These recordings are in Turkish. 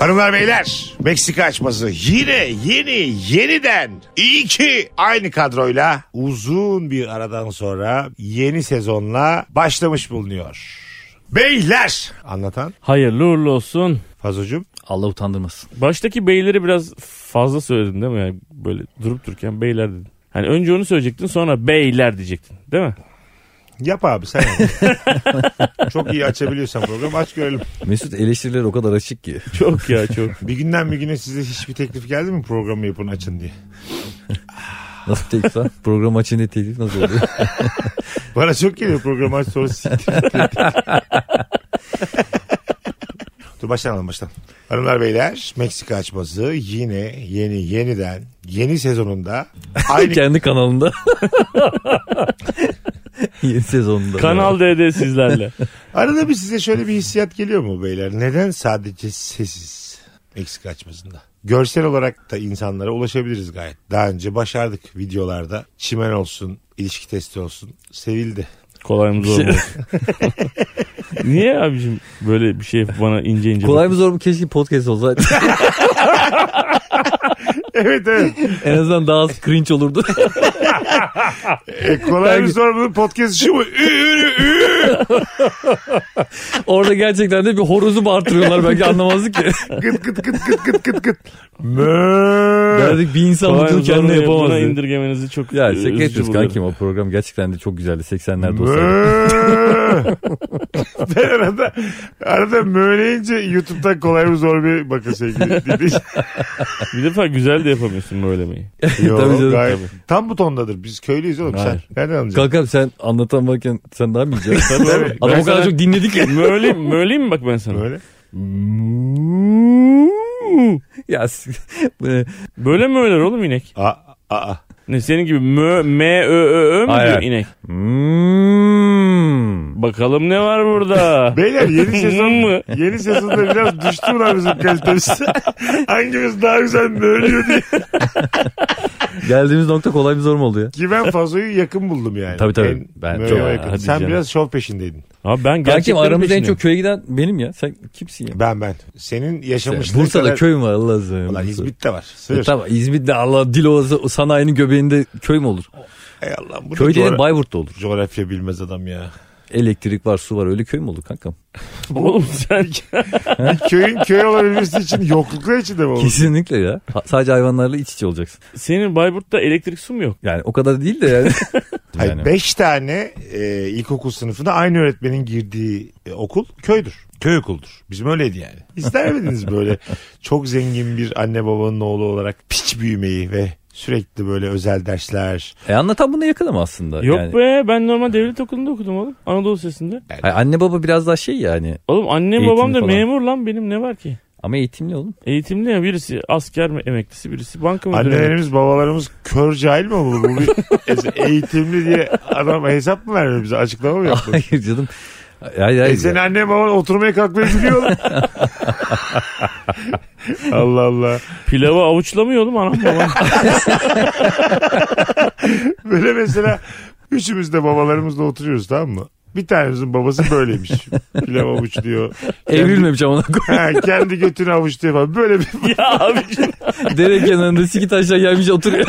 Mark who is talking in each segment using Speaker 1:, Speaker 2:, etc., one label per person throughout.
Speaker 1: Hanımlar beyler Meksika açması yine yeni yeniden iyi ki aynı kadroyla uzun bir aradan sonra yeni sezonla başlamış bulunuyor. Beyler anlatan
Speaker 2: Hayırlı uğurlu olsun.
Speaker 1: Fazocuğum
Speaker 3: Allah utandırmasın.
Speaker 2: Baştaki beyleri biraz fazla söyledin değil mi? Yani böyle durup dururken beyler dedin. Hani önce onu söyleyecektin sonra beyler diyecektin değil mi?
Speaker 1: yap abi sen yap. Çok iyi açabiliyorsan programı aç görelim.
Speaker 3: Mesut eleştirileri o kadar açık ki.
Speaker 2: Çok ya çok.
Speaker 1: Bir günden bir güne size hiçbir teklif geldi mi programı yapın açın diye.
Speaker 3: Nasıl teklif lan? Program açınca teklif nasıl oluyor?
Speaker 1: Bana çok geliyor programı aç sonra siktir. Dur başlayalım baştan. Hanımlar beyler Meksika açması yine yeni yeniden yeni sezonunda aynı
Speaker 3: Kendi kanalında. Yeni sezonunda.
Speaker 2: Kanal D'de sizlerle.
Speaker 1: Arada bir size şöyle bir hissiyat geliyor mu beyler? Neden sadece sessiz eksik açmasında? Görsel olarak da insanlara ulaşabiliriz gayet. Daha önce başardık videolarda. Çimen olsun, ilişki testi olsun. Sevildi.
Speaker 2: Kolay mı
Speaker 3: Şey-
Speaker 2: zor mu? Niye abicim böyle bir şey bana ince ince
Speaker 3: Kolay mı zor mu? Keşke podcast olsaydı.
Speaker 1: Evet evet.
Speaker 3: en azından daha az cringe olurdu.
Speaker 1: E, kolay bir soru bunun podcast şu mu? Ü, ü, ü.
Speaker 3: Orada gerçekten de bir horozu bağırtırıyorlar belki anlamazdık ki.
Speaker 1: Gıt gıt gıt gıt gıt gıt gıt. Mö.
Speaker 3: Derdik bir insan
Speaker 2: Kolay
Speaker 3: bunu
Speaker 2: mı zor mu?
Speaker 3: kendine
Speaker 2: Buna
Speaker 3: yapamaz. diye.
Speaker 2: indirgemenizi çok
Speaker 3: Ya
Speaker 2: üzücü
Speaker 3: şaka etmiyoruz
Speaker 2: buluyorum.
Speaker 3: kankim o program gerçekten de çok güzeldi 80'lerde olsaydı.
Speaker 1: Mö. ben arada arada möleyince YouTube'dan kolay mı zor bir bakın sevgili dinleyiciler.
Speaker 2: Bir defa güzel de yapamıyorsun böylemeyi.
Speaker 1: Yo,
Speaker 3: Tabii canım.
Speaker 1: gayet- Tam bu tondadır. Biz köylüyüz oğlum.
Speaker 3: Hayır.
Speaker 1: Sen nereden anlayacaksın?
Speaker 3: Kankam sen anlatan varken sen daha mı yiyeceksin?
Speaker 2: Tabii abi.
Speaker 3: Adam
Speaker 2: Ben
Speaker 3: o kadar
Speaker 2: sana-
Speaker 3: çok dinledi ki.
Speaker 2: Möyle, möyle mi bak ben sana?
Speaker 1: Böyle.
Speaker 3: ya s- bu ne?
Speaker 2: Böyle mi öler oğlum inek?
Speaker 1: Aa, aa.
Speaker 2: Ne senin gibi mö, m, ö, ö, ö mü
Speaker 3: Hayır.
Speaker 2: diyor inek?
Speaker 3: Hmm.
Speaker 2: Bakalım ne var burada?
Speaker 1: Beyler yeni sezon
Speaker 2: mı?
Speaker 1: Yeni sezonda biraz düştü ulan bizim kalitemiz. Hangimiz daha güzel bölüyor diye.
Speaker 3: Geldiğimiz nokta kolay bir zor mu oldu ya?
Speaker 1: Ki ben Fazo'yu yakın buldum yani.
Speaker 3: Tabii, tabii.
Speaker 1: En-
Speaker 3: Ben
Speaker 1: böyle
Speaker 3: çok-
Speaker 1: yakın.
Speaker 2: Hadi
Speaker 1: Sen
Speaker 2: canım.
Speaker 1: biraz şov peşindeydin.
Speaker 2: Abi ben gerçekten
Speaker 3: Kankim aramızda en çok köye giden benim ya. Sen kimsin ya?
Speaker 1: Ben ben. Senin yaşamışlığın
Speaker 3: Bursa'da
Speaker 1: kadar-
Speaker 3: köy mü var Allah razı olsun.
Speaker 1: Ulan İzmit'te var. Sır.
Speaker 3: E, tamam İzmit'te Allah dil olası o sanayinin göbeğinde köy mü olur?
Speaker 1: Ey Allah'ım. Bu
Speaker 3: Köy
Speaker 1: coğra-
Speaker 3: değil Bayburt'ta olur.
Speaker 1: Coğrafya bilmez adam ya.
Speaker 3: Elektrik var su var öyle köy mü olur kankam?
Speaker 2: Oğlum sen
Speaker 1: Köyün köy olabilmesi için yokluklar içinde mi olur?
Speaker 3: Kesinlikle ya. Ha- sadece hayvanlarla iç içe olacaksın.
Speaker 2: senin Bayburt'ta elektrik su mu yok?
Speaker 3: Yani o kadar değil de yani.
Speaker 1: Hayır,
Speaker 3: Yani.
Speaker 1: beş tane e, ilkokul sınıfına aynı öğretmenin girdiği e, okul köydür. Köy okuludur. Bizim öyleydi yani. İster miydiniz böyle çok zengin bir anne babanın oğlu olarak piç büyümeyi ve sürekli böyle özel dersler.
Speaker 3: E anlatan bunu yakalama aslında.
Speaker 2: Yok
Speaker 3: yani.
Speaker 2: be ben normal devlet okulunda okudum oğlum. Anadolu Sesi'nde.
Speaker 3: Hayır, anne baba biraz daha şey yani.
Speaker 2: Oğlum annem
Speaker 3: Eğitimli
Speaker 2: babam da
Speaker 3: falan.
Speaker 2: memur lan benim ne var ki?
Speaker 3: Ama eğitimli oğlum.
Speaker 2: Eğitimli ya birisi asker mi emeklisi birisi banka müdürü. emeklisi.
Speaker 1: Annelerimiz babalarımız kör cahil mi olur? Bu bir e- eğitimli diye adam hesap mı vermiyor bize? Açıklama mı yaptı?
Speaker 3: Hayır canım. Hayır, hayır.
Speaker 1: E senin annen baban oturmaya kalkmayı biliyor oğlum. Allah Allah.
Speaker 2: Pilavı avuçlamıyor oğlum anam babam.
Speaker 1: Böyle mesela üçümüz de babalarımızla oturuyoruz tamam mı? Bir tanemizin babası böyleymiş. Pilav avuçluyor.
Speaker 3: Evrilmemiş ama.
Speaker 1: Ha, kendi götünü avuçluyor falan. Böyle bir,
Speaker 2: ya abicim.
Speaker 3: Dere kenarında siki taşlar gelmiş oturuyor.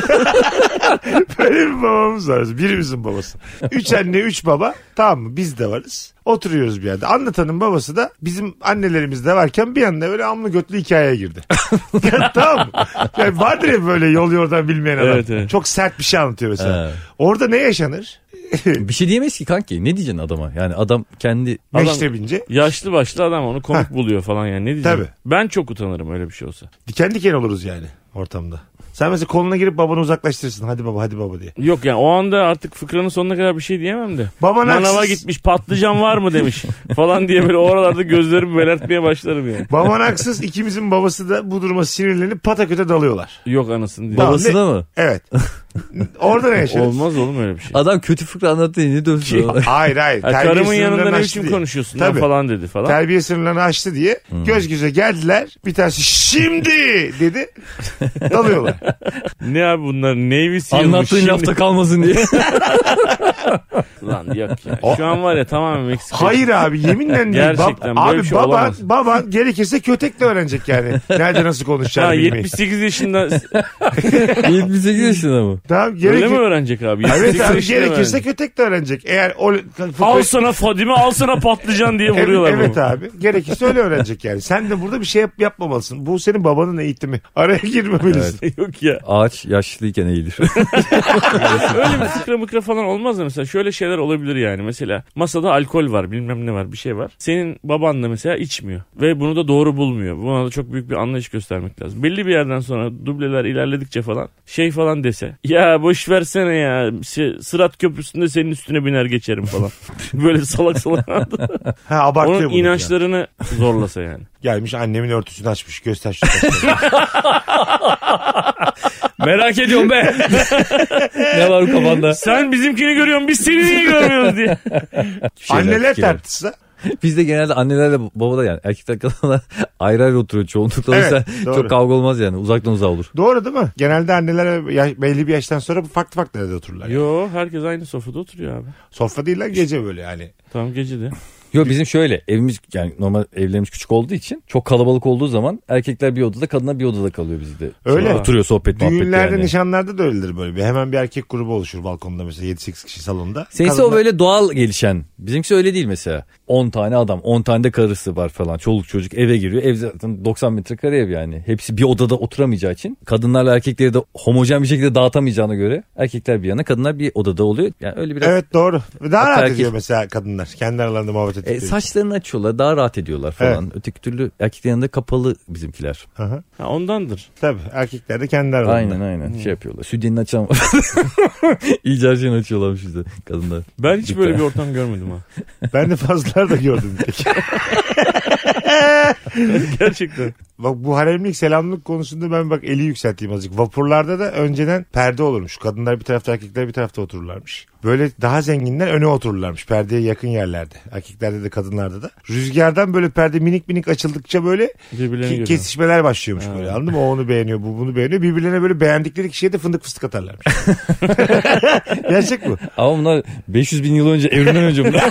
Speaker 1: böyle bir babamız var. Birimizin babası. Üç anne üç baba. Tamam mı? Biz de varız. Oturuyoruz bir yerde. Anlatanın babası da bizim annelerimiz de varken bir anda böyle amlı götlü hikayeye girdi. Ya tamam mı? Yani vardır ya böyle yol yordan bilmeyen adam.
Speaker 2: Evet, evet.
Speaker 1: Çok sert bir şey anlatıyor mesela.
Speaker 3: Ha.
Speaker 1: Orada ne yaşanır?
Speaker 3: Bir şey diyemeyiz ki kanki. Ne diyeceksin adama? Yani adam kendi
Speaker 2: Adam-
Speaker 1: Meşte bince.
Speaker 2: Yaşlı başlı adam onu komik buluyor falan yani ne diyeceğim.
Speaker 1: Tabii.
Speaker 2: Ben çok utanırım öyle bir şey olsa.
Speaker 1: Diken diken oluruz yani ortamda. Sen mesela koluna girip babanı uzaklaştırırsın. Hadi baba hadi baba diye.
Speaker 2: Yok yani o anda artık fıkranın sonuna kadar bir şey diyemem de.
Speaker 1: Baban
Speaker 2: Manava
Speaker 1: haksız.
Speaker 2: gitmiş patlıcan var mı demiş falan diye böyle oralarda gözlerimi belertmeye başlarım yani.
Speaker 1: Baban haksız ikimizin babası da bu duruma sinirlenip pataköte dalıyorlar.
Speaker 2: Yok anasını diye.
Speaker 1: Tamam,
Speaker 3: babasına
Speaker 1: ne-
Speaker 3: mı?
Speaker 1: Evet. Orada ne yaşarız?
Speaker 2: Olmaz oğlum öyle bir şey.
Speaker 3: Adam kötü fıkra anlattı. Ne dövsün? ona?
Speaker 1: Hayır hayır.
Speaker 2: Ha,
Speaker 1: Terbiye
Speaker 2: karımın
Speaker 1: sınırlarını
Speaker 2: yanında ne
Speaker 1: aştı
Speaker 2: biçim
Speaker 1: diye.
Speaker 2: konuşuyorsun lan Hmm.
Speaker 1: Tabii.
Speaker 2: falan dedi falan.
Speaker 1: Terbiye sınırlarını aştı diye göz göze geldiler. Bir tanesi şimdi dedi. Dalıyorlar.
Speaker 2: ne abi bunlar Navy Seal'mış
Speaker 3: Anlattığın
Speaker 2: şimdi.
Speaker 3: lafta kalmasın diye.
Speaker 2: Lan yok ya. Şu an var ya tamamen Meksika.
Speaker 1: Hayır abi yeminle değil.
Speaker 2: Gerçekten
Speaker 1: Bab- abi
Speaker 2: böyle bir şey
Speaker 1: baban,
Speaker 2: olamaz.
Speaker 1: baban gerekirse kötekle öğrenecek yani. Nerede nasıl
Speaker 2: Ha,
Speaker 1: konuşacağını bilmeyi.
Speaker 2: 78 yaşında
Speaker 3: 78 yaşında mı?
Speaker 1: Tamam, gerek-
Speaker 2: öyle mi öğrenecek abi?
Speaker 1: Evet
Speaker 2: 78
Speaker 1: abi
Speaker 2: yaşında öğrenecek.
Speaker 1: gerekirse kötekle öğrenecek. Eğer o...
Speaker 2: Al sana Fadime al sana patlıcan diye
Speaker 1: Evet,
Speaker 2: vuruyorlar.
Speaker 1: evet
Speaker 2: bunu.
Speaker 1: abi. Gerekirse öyle öğrenecek yani. Sen de burada bir şey yap- yapmamalısın. Bu senin babanın eğitimi. Araya girmemelisin.
Speaker 2: Yok ya.
Speaker 3: Ağaç yaşlıyken eğilir.
Speaker 2: Öyle bir fıkra mıkra falan olmaz da mesela şöyle şeyler olabilir yani. Mesela masada alkol var bilmem ne var bir şey var. Senin baban da mesela içmiyor ve bunu da doğru bulmuyor. Buna da çok büyük bir anlayış göstermek lazım. Belli bir yerden sonra dubleler ilerledikçe falan şey falan dese. Ya boş versene ya şey, Sırat Köprüsü'nde senin üstüne biner geçerim falan. Böyle salak salak.
Speaker 1: Ha abartıyor
Speaker 2: Onun
Speaker 1: bunu.
Speaker 2: inançlarını zorlasa yani.
Speaker 1: Gelmiş annemin örtüsünü açmış. Göster şu taşları.
Speaker 3: Merak ediyorum be. ne var bu kafanda?
Speaker 2: Sen bizimkini görüyorsun biz seni niye görmüyoruz diye.
Speaker 3: Şeyler,
Speaker 1: Anneler
Speaker 3: fikirler.
Speaker 1: tartışsa.
Speaker 3: Bizde genelde annelerle babalar yani erkekler kadınlar ayrı ayrı oturuyor çoğunlukla. O
Speaker 1: Evet,
Speaker 3: yüzden
Speaker 1: doğru.
Speaker 3: çok kavga olmaz yani uzaktan uzağa olur.
Speaker 1: Doğru değil mi? Genelde anneler ya- belli bir yaştan sonra farklı farklı yerde otururlar.
Speaker 2: Yo herkes aynı sofrada oturuyor abi.
Speaker 1: Sofra değil lan gece böyle yani.
Speaker 2: Tam gecede.
Speaker 3: Yok bizim şöyle evimiz yani normal evlerimiz küçük olduğu için çok kalabalık olduğu zaman erkekler bir odada kadınlar bir odada kalıyor bizde.
Speaker 1: Öyle.
Speaker 3: Sonra Oturuyor sohbet muhabbet
Speaker 1: Düğünlerde
Speaker 3: yani.
Speaker 1: nişanlarda da öyledir böyle. Bir, hemen bir erkek grubu oluşur balkonda mesela 7-8 kişi salonda.
Speaker 3: Seninki o
Speaker 1: Kadınlar-
Speaker 3: böyle doğal gelişen. Bizimkisi öyle değil mesela. 10 tane adam, 10 tane de karısı var falan. Çoluk çocuk eve giriyor. Ev zaten 90 metrekare ev yani. Hepsi bir odada oturamayacağı için kadınlarla erkekleri de homojen bir şekilde dağıtamayacağına göre erkekler bir yana, kadınlar bir odada oluyor. Yani öyle biraz
Speaker 1: Evet doğru. Daha
Speaker 3: Hatta
Speaker 1: rahat
Speaker 3: erkek-
Speaker 1: ediyor mesela kadınlar. Kendi aralarında muhabbet
Speaker 3: E,
Speaker 1: ediyor.
Speaker 3: saçlarını açıyorlar daha rahat ediyorlar falan. Öteki türlü erkeklerin yanında kapalı bizimkiler.
Speaker 2: Ha, ondandır.
Speaker 1: Tabii erkekler de kendi aralarında.
Speaker 3: Aynen aynen şey yapıyorlar. Sütyenini açan var. İyice her şeyini açıyorlarmış bizde kadınlar.
Speaker 2: Ben hiç böyle bir ortam görmedim ha.
Speaker 1: Ben de fazlalar da gördüm. bir tek.
Speaker 2: Gerçekten.
Speaker 1: bak bu haremlik selamlık konusunda ben bak eli yükselteyim azıcık. Vapurlarda da önceden perde olurmuş. Kadınlar bir tarafta erkekler bir tarafta otururlarmış. Böyle daha zenginler öne otururlarmış. Perdeye yakın yerlerde. Erkeklerde de kadınlarda da. Rüzgardan böyle perde minik minik açıldıkça böyle
Speaker 2: Birbirlerini
Speaker 1: ki-
Speaker 2: görüyor.
Speaker 1: kesişmeler başlıyormuş
Speaker 2: Ha.
Speaker 1: böyle anladın mı? O onu beğeniyor bu bunu beğeniyor. Birbirlerine böyle beğendikleri kişiye de fındık fıstık atarlarmış. Gerçek bu.
Speaker 3: Ama bunlar 500 bin yıl önce evrimden önce bunlar.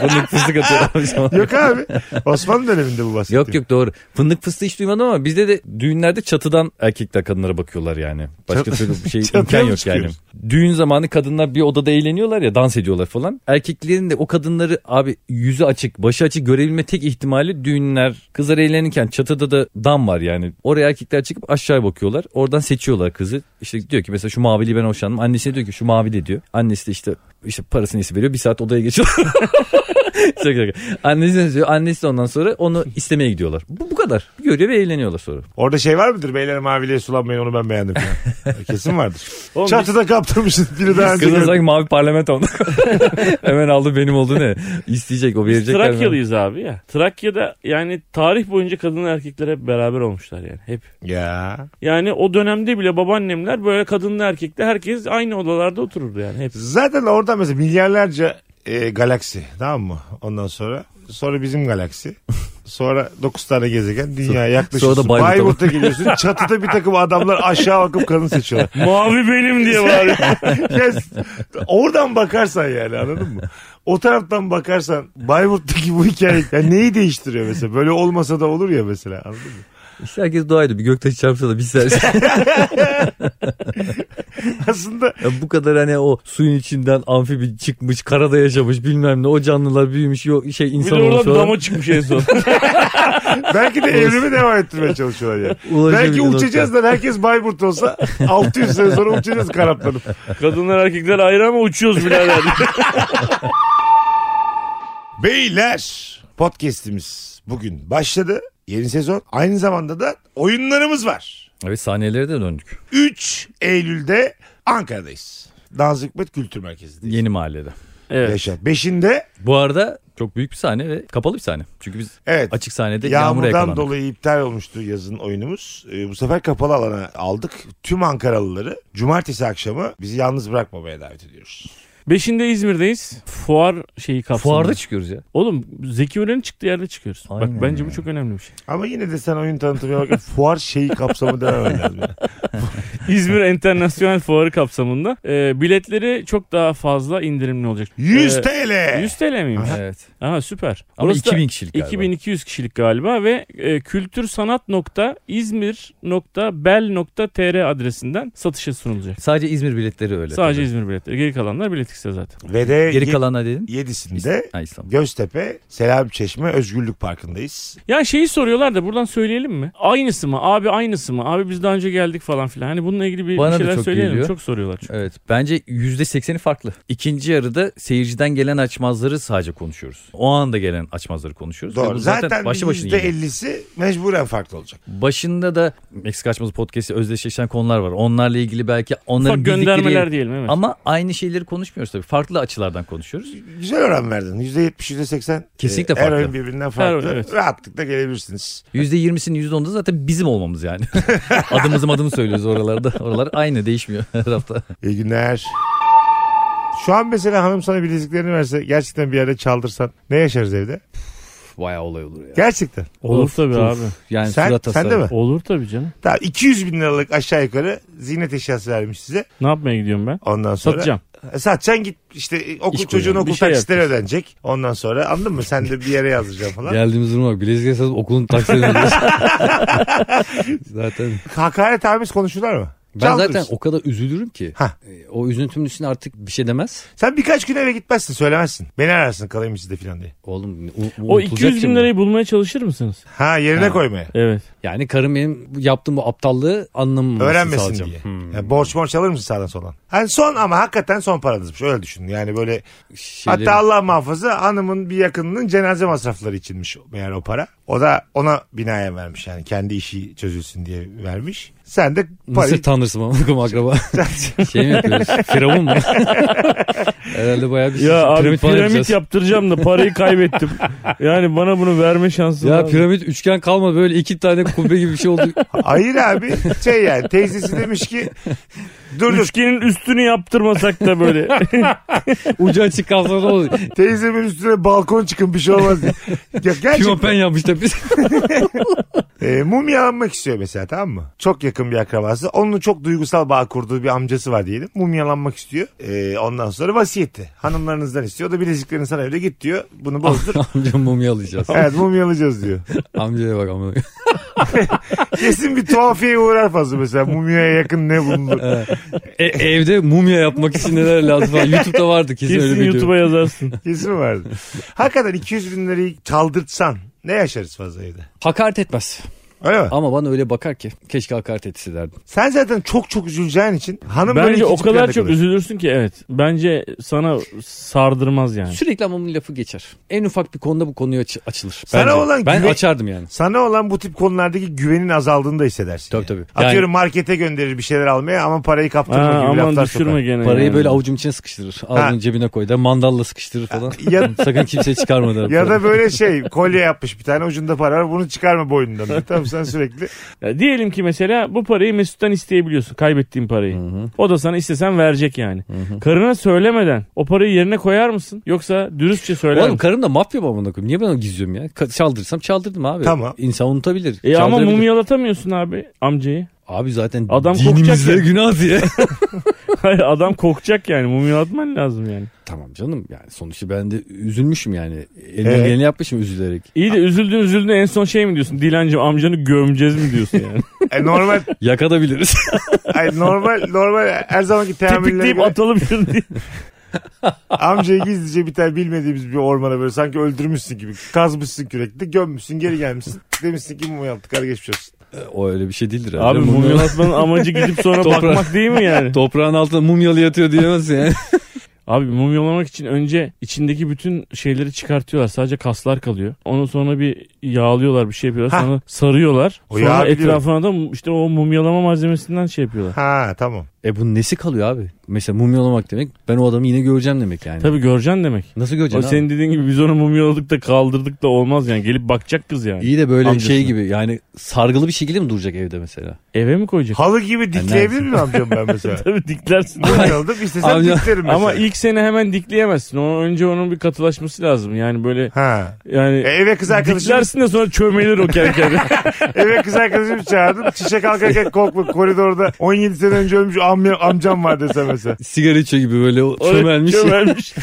Speaker 3: Fındık fıstık atıyorlar.
Speaker 1: Yok abi. Osmanlı döneminde bu bahsettiğim.
Speaker 3: Yok yok doğru. Fındık fıstığı hiç duymadım ama bizde de düğünlerde çatıdan erkekler kadınlara bakıyorlar yani. Başka
Speaker 1: Çat-
Speaker 3: türlü bir şey
Speaker 1: Çatıya
Speaker 3: imkan
Speaker 1: mı
Speaker 3: yok yani.
Speaker 1: çıkıyoruz?
Speaker 3: Düğün zamanı kadınlar bir odada eğleniyorlar ya dans ediyorlar falan. Erkeklerin de o kadınları abi yüzü açık başı açık görebilme tek ihtimali düğünler. Kızlar eğlenirken çatıda da dam var yani. Oraya erkekler çıkıp aşağıya bakıyorlar. Oradan seçiyorlar kızı. İşte diyor ki mesela şu maviliği ben hoşlandım. Annesine diyor ki şu mavili diyor. Annesi de işte işte parasını iyisi veriyor. Bir saat odaya geçiyor. Çok şaka. Annesi de diyor. Annesi de ondan sonra onu istemeye gidiyorlar. Bu, bu kadar. Görüyor ve eğleniyorlar sonra.
Speaker 1: Orada şey var mıdır? Beyler maviliğe sulanmayın onu ben beğendim falan. Kesin vardır.
Speaker 2: Oğlum
Speaker 1: Çatıda kaptırmışsın biri daha önce.
Speaker 3: Kızın
Speaker 1: gördüm.
Speaker 3: sanki mavi parlamento onda. Hemen aldı benim oldu ne? İsteyecek o
Speaker 2: biz
Speaker 3: verecek.
Speaker 2: Trakyalıyız abi ya. Trakya'da yani tarih boyunca kadınla erkekler hep beraber olmuşlar yani. Hep.
Speaker 1: Ya.
Speaker 2: Yani o dönemde bile babaannemler böyle kadınla erkekle herkes aynı odalarda otururdu yani hep.
Speaker 1: Zaten orada mesela milyarlarca e, galaksi tamam mı? Ondan sonra sonra bizim galaksi. Sonra 9 tane gezegen dünyaya yaklaşıyorsun.
Speaker 3: sonra da Bayburt'a.
Speaker 1: Bayburt'a geliyorsun. Çatıda bir takım adamlar aşağı bakıp kadın seçiyorlar.
Speaker 2: Mavi benim diye bağırıyor.
Speaker 1: Yes. Oradan bakarsan yani anladın mı? O taraftan bakarsan Bayburt'taki bu hikaye yani neyi değiştiriyor mesela? Böyle olmasa da olur ya mesela anladın mı?
Speaker 3: İşte herkes duaydı. Bir göktaşı çarpsa da biz serse.
Speaker 1: Aslında
Speaker 3: Ya bu kadar hani o suyun içinden amfibi çıkmış, karada yaşamış bilmem ne. O canlılar büyümüş, yok şey
Speaker 2: Bir de
Speaker 3: insan olmuş
Speaker 2: oradan
Speaker 3: falan.
Speaker 2: dama çıkmış en son.
Speaker 1: belki de evrimi devam ettirmeye çalışıyorlar yani.
Speaker 3: Ulaşabildiği
Speaker 1: Belki uçacağız da herkes Bayburt olsa 600 sene sonra uçacağız kanatlanıp.
Speaker 2: Kadınlar erkekler ayrı ama uçuyoruz birader.
Speaker 1: Beyler podcast'imiz bugün başladı. Yeni sezon. Aynı zamanda da oyunlarımız var.
Speaker 3: nokta. Evet sahnelere de döndük.
Speaker 1: 3 Eylül'de Ankara'dayız. Danzikmet Kültür Merkezi'ndeyiz.
Speaker 3: Yeni mahallede.
Speaker 2: evet.
Speaker 1: Yaşa. Beşinde
Speaker 3: Bu arada
Speaker 4: Çok büyük bir sahne ve kapalı bir sahne. Çünkü biz
Speaker 1: Evet.
Speaker 4: açık sahnede yağmura
Speaker 1: Yağmurdan
Speaker 4: yakalandık.
Speaker 1: dolayı iptal olmuştu yazın oyunumuz. Ee, bu sefer kapalı alana aldık. Tüm Ankaralıları cumartesi akşamı bizi yalnız bırakmamaya davet ediyoruz.
Speaker 2: Beşinde İzmir'deyiz. Fuar şeyi kapsamında.
Speaker 4: Fuarda çıkıyoruz ya.
Speaker 2: Oğlum Zeki Müren'in çıktığı yerde çıkıyoruz.
Speaker 4: Aynen
Speaker 2: Bak bence
Speaker 4: ya.
Speaker 2: bu çok önemli bir şey.
Speaker 1: Ama yine de sen oyun tanıtımına bakın fuar şeyi kapsamı dememen lazım.
Speaker 2: İzmir Enternasyonel Fuarı kapsamında e, biletleri çok daha fazla indirimli olacak.
Speaker 1: 100
Speaker 2: E,
Speaker 1: TL.
Speaker 2: 100 TL miymiş?
Speaker 4: Evet.
Speaker 2: Aha süper.
Speaker 4: Ama
Speaker 2: Orası da
Speaker 4: 2000 kişilik galiba.
Speaker 2: 2200 kişilik galiba ve e, kültürsanat.izmir.bel.tr adresinden satışa sunulacak.
Speaker 4: Sadece İzmir biletleri öyle.
Speaker 2: Sadece
Speaker 4: tabii.
Speaker 2: İzmir biletleri. Geri kalanlar bilet X'te zaten.
Speaker 1: Ve de
Speaker 4: Geri
Speaker 1: ye-
Speaker 4: kalanlar dedim.
Speaker 1: yedisinde
Speaker 4: Ha İstanbul.
Speaker 1: Göztepe, Selam Çeşme, Özgürlük Parkı'ndayız.
Speaker 2: Ya şeyi soruyorlar da buradan söyleyelim mi? Aynısı mı? Abi aynısı mı? Abi biz daha önce geldik falan filan. Hani bununla ilgili bir, bir
Speaker 4: Bana da
Speaker 2: şeyler
Speaker 4: çok
Speaker 2: söyleyelim.
Speaker 4: geliyor.
Speaker 2: Çok soruyorlar. çünkü.
Speaker 4: Evet bence %80'i farklı. İkinci yarıda seyirciden gelen açmazları sadece konuşuyoruz. O anda gelen açmazları konuşuyoruz. Ve
Speaker 1: Doğru.
Speaker 4: bu
Speaker 1: Zaten,
Speaker 4: başlı başına
Speaker 1: yüzde
Speaker 4: yeni.
Speaker 1: %50'si mecburen farklı olacak.
Speaker 4: Başında da Meksika açmazı podcast'i özdeşleşen konular var. Onlarla ilgili belki onların
Speaker 2: Ufak
Speaker 4: bildikleri-
Speaker 2: göndermeler diyelim evet.
Speaker 4: Ama aynı şeyleri konuşmuyoruz tabii. Farklı açılardan konuşuyoruz.
Speaker 1: Güzel oran verdin. %70, %80.
Speaker 4: Kesinlikle
Speaker 1: e, her
Speaker 4: farklı.
Speaker 1: oyun birbirinden farklı.
Speaker 2: oyun, evet.
Speaker 1: Rahatlıkla gelebilirsiniz.
Speaker 4: %20'sinin %10'u da zaten bizim olmamız yani. Adımızın adını söylüyoruz oralarda. Oralar aynı değişmiyor her hafta.
Speaker 1: İyi günler. Şu an mesela hanım sana bileziklerini verse gerçekten bir yerde çaldırsan ne yaşarız evde?
Speaker 4: Bayağı olay olur ya.
Speaker 1: Gerçekten.
Speaker 2: Olur
Speaker 4: Of,
Speaker 2: tabii
Speaker 4: of.
Speaker 2: abi.
Speaker 4: Yani
Speaker 1: Sen-
Speaker 4: surat
Speaker 1: sen de
Speaker 4: hasarı.
Speaker 1: mi?
Speaker 2: Olur tabii canım.
Speaker 1: Tamam 200 bin liralık aşağı yukarı ziynet eşyası vermiş size.
Speaker 2: Ne yapmaya gidiyorum ben?
Speaker 1: Ondan sonra.
Speaker 2: Satacağım.
Speaker 1: E, Satacaksın git işte e, okul
Speaker 4: İş
Speaker 1: çocuğun
Speaker 4: koyuyorum.
Speaker 1: okul
Speaker 2: Bir şey
Speaker 1: taksitleri ödenecek. Ondan sonra anladın mı? Sen de bir yere yazdıracaksın falan.
Speaker 4: Geldiğimiz duruma bak. Bilezik satıp okulun taksilerini ödüyoruz. Zaten.
Speaker 1: Hakaret amiz konuşurlar mı?
Speaker 3: Ben zaten
Speaker 1: Çaldırırsın.
Speaker 3: o kadar üzülürüm ki.
Speaker 1: Hah.
Speaker 3: E, O üzüntümün üstüne artık bir şey demez.
Speaker 1: Sen birkaç gün eve gitmezsin söylemezsin. Beni ararsın kalayım sizde falan diye.
Speaker 3: Oğlum u-
Speaker 2: O
Speaker 3: unutulacak
Speaker 2: 200 bin
Speaker 3: şimdi.
Speaker 2: lirayı bulmaya çalışır mısınız?
Speaker 1: Ha yerine
Speaker 3: Ha.
Speaker 1: koymaya.
Speaker 2: Evet.
Speaker 3: Yani karım benim bu- yaptığım bu aptallığı anlamamasını
Speaker 1: Öğrenmesin
Speaker 3: sağlayacağım.
Speaker 1: diye. Yani borç borç alır mısın sağdan soldan? Hani son ama hakikaten son paranızmış öyle düşün. Yani böyle
Speaker 3: Şeyleri-
Speaker 1: hatta Allah muhafaza hanımın bir yakınının cenaze masrafları içinmiş yani o para. O da ona binaya vermiş yani kendi işi çözülsün diye vermiş. Sen de parayı
Speaker 3: Mısır tanrısı mı? Bakın akraba. şey mi yapıyoruz? Firavun mu? Herhalde bayağı bir şey-
Speaker 2: Ya abi piramit,
Speaker 3: falan yapacağız.
Speaker 2: yaptıracağım da parayı kaybettim. yani bana bunu verme şansı
Speaker 3: Ya piramit üçgen kalma böyle iki tane kubbe gibi bir şey oldu.
Speaker 1: Hayır abi şey yani teyzesi demiş ki dur dur
Speaker 2: Üçgenin üstünü yaptırmasak da böyle.
Speaker 3: Ucu açık kalsa ne olur?
Speaker 1: teyzemin üstüne balkon çıkın bir şey olmaz diye. Ya
Speaker 3: Pimapen
Speaker 1: gerçekten
Speaker 3: yapmış da biz.
Speaker 1: e, mumyalanmak istiyor mesela tamam mı? Çok yakın bir akrabası. Onun çok duygusal bağ kurduğu bir amcası var diyelim. Mumyalanmak istiyor. E, ondan sonra vasiyeti. Hanımlarınızdan istiyor. O da bileziklerini sana öyle git diyor. Bunu
Speaker 3: Ah,
Speaker 1: bozdur.
Speaker 3: Amcam mumya alacağız.
Speaker 1: evet mumyalayacağız diyor.
Speaker 3: Amcaya bak ama.
Speaker 1: Kesin bir tuhafiyeye uğrar fazla mesela. Mumyaya yakın ne bulundu?
Speaker 3: E, evde mumya yapmak için neler lazım falan. YouTube'da vardı kesin, öyle
Speaker 2: Kesin
Speaker 3: bir video.
Speaker 2: YouTube'a yazarsın.
Speaker 1: Kesin vardı. Hakikaten 200 bin lirayı çaldırtsan ne yaşarız fazla evde?
Speaker 3: Hakaret etmez.
Speaker 1: Öyle mi?
Speaker 3: Ama bana öyle bakar ki keşke hakaret etse derdim.
Speaker 1: Sen zaten çok çok üzüleceğin için hanım böyle
Speaker 2: Bence
Speaker 1: ikinci
Speaker 2: o kadar
Speaker 1: planda
Speaker 2: çok
Speaker 1: kalır.
Speaker 2: üzülürsün ki evet. Bence sana sardırmaz yani.
Speaker 3: Sürekli ama bunun lafı geçer. En ufak bir konuda bu konuya aç- açılır.
Speaker 1: Sana
Speaker 3: Bence.
Speaker 1: olan
Speaker 3: ben
Speaker 1: güven-
Speaker 3: açardım yani.
Speaker 1: Sana olan bu tip konulardaki güvenin azaldığını da hissedersin.
Speaker 3: Tabii
Speaker 1: yani.
Speaker 3: tabii.
Speaker 1: Atıyorum markete gönderir bir şeyler almaya ama parayı
Speaker 2: Aa,
Speaker 1: kaptırma gibi
Speaker 2: aman
Speaker 1: laflar
Speaker 2: düşürme
Speaker 1: sokar.
Speaker 2: gene.
Speaker 3: Parayı
Speaker 2: yani.
Speaker 3: böyle avucum içine sıkıştırır. Ağzının cebine koy der. Mandalla sıkıştırır falan.
Speaker 1: Ya,
Speaker 3: Sakın kimseye çıkarma der.
Speaker 1: ya da böyle şey kolye yapmış bir tane ucunda para var bunu çıkarma boynundan. diyor. Tamam sen sürekli.
Speaker 2: Ya diyelim ki mesela bu parayı Mesut'tan isteyebiliyorsun. Kaybettiğin parayı. O da sana istesen verecek yani. Karına söylemeden o parayı yerine koyar mısın? Yoksa dürüstçe söyler
Speaker 3: Oğlum
Speaker 2: misin?
Speaker 3: karım da mafya mı amına koyayım? Niye ben onu gizliyorum ya? Ka- Çaldırsam çaldırdım abi.
Speaker 1: Tamam.
Speaker 3: İnsan unutabilir.
Speaker 2: E ama
Speaker 3: Çaldırabilir.
Speaker 2: mumyalatamıyorsun abi amcayı.
Speaker 3: Abi zaten
Speaker 2: Adam
Speaker 3: Adam
Speaker 2: korkacak
Speaker 3: dinimizde
Speaker 2: ya.
Speaker 3: günah diye.
Speaker 2: Hayır, Adam kokacak yani mumyalatman lazım yani.
Speaker 3: tamam canım yani sonuçta ben de üzülmüşüm yani. Elimden
Speaker 1: Evet.
Speaker 3: geleni yapmışım üzülerek.
Speaker 2: İyi de üzüldün üzüldün en son şey mi diyorsun? Dilancım amcanı gömeceğiz mi diyorsun yani?
Speaker 1: E, normal
Speaker 3: Yakadabiliriz.
Speaker 1: ay, normal normal her zamanki teamüllere
Speaker 2: Tepikleyip
Speaker 1: göre
Speaker 2: atalım şunu diye.
Speaker 1: amcayı gizlice bir tane bilmediğimiz bir ormana böyle sanki öldürmüşsün gibi kazmışsın kürekte gömmüşsün geri gelmişsin demişsin ki mum yaptık hadi geçmiş olsun.
Speaker 3: o öyle bir şey değildir.
Speaker 2: Abi
Speaker 3: Mumya-
Speaker 2: mumyalatmanın amacı gidip sonra
Speaker 3: Toprağa-
Speaker 2: bakmak değil mi yani?
Speaker 3: Toprağın altında mumyalı yatıyor diyemezsin yani.
Speaker 2: Abi mumyalamak için önce içindeki bütün şeyleri çıkartıyorlar. Sadece kaslar kalıyor. Ondan sonra bir yağlıyorlar bir şey yapıyorlar. Sonra sarıyorlar.
Speaker 1: O yağı
Speaker 2: sonra
Speaker 1: biliyorum.
Speaker 2: etrafına da işte o mumyalama malzemesinden şey yapıyorlar.
Speaker 1: Ha tamam.
Speaker 3: E bunun nesi kalıyor abi? Mesela mumyalamak demek ben o adamı yine göreceğim demek yani.
Speaker 2: Tabii göreceksin demek.
Speaker 3: Nasıl
Speaker 2: O
Speaker 3: göreceğim
Speaker 2: senin dediğin gibi biz onu mumyaladık da kaldırdık da olmaz yani. Gelip bakacak kız yani.
Speaker 3: İyi de böyle
Speaker 2: Amcasını.
Speaker 3: şey gibi yani sargılı bir şekilde mi duracak evde mesela?
Speaker 2: Eve mi koyacak?
Speaker 1: Halı gibi dikleyebilir miyim amcam ben mesela?
Speaker 2: Tabii diklersin.
Speaker 1: Bayıldım istesem
Speaker 3: Amca-
Speaker 1: diklerim mesela.
Speaker 2: Ama ilk sene hemen dikleyemezsin. Onun önce onun bir katılaşması lazım. Yani böyle
Speaker 1: Ha.
Speaker 2: yani
Speaker 1: E, eve kız arkadaşım
Speaker 2: diklersin de sonra çömelir o kendi kendine.
Speaker 1: eve kız arkadaşım çağırdım. Çiçek kalkarken korkma koridorda 17 sene önce ölmüş amca, amcam var dese mesela.
Speaker 3: Sigara içiyor gibi böyle o çömelmiş.
Speaker 2: çömelmiş.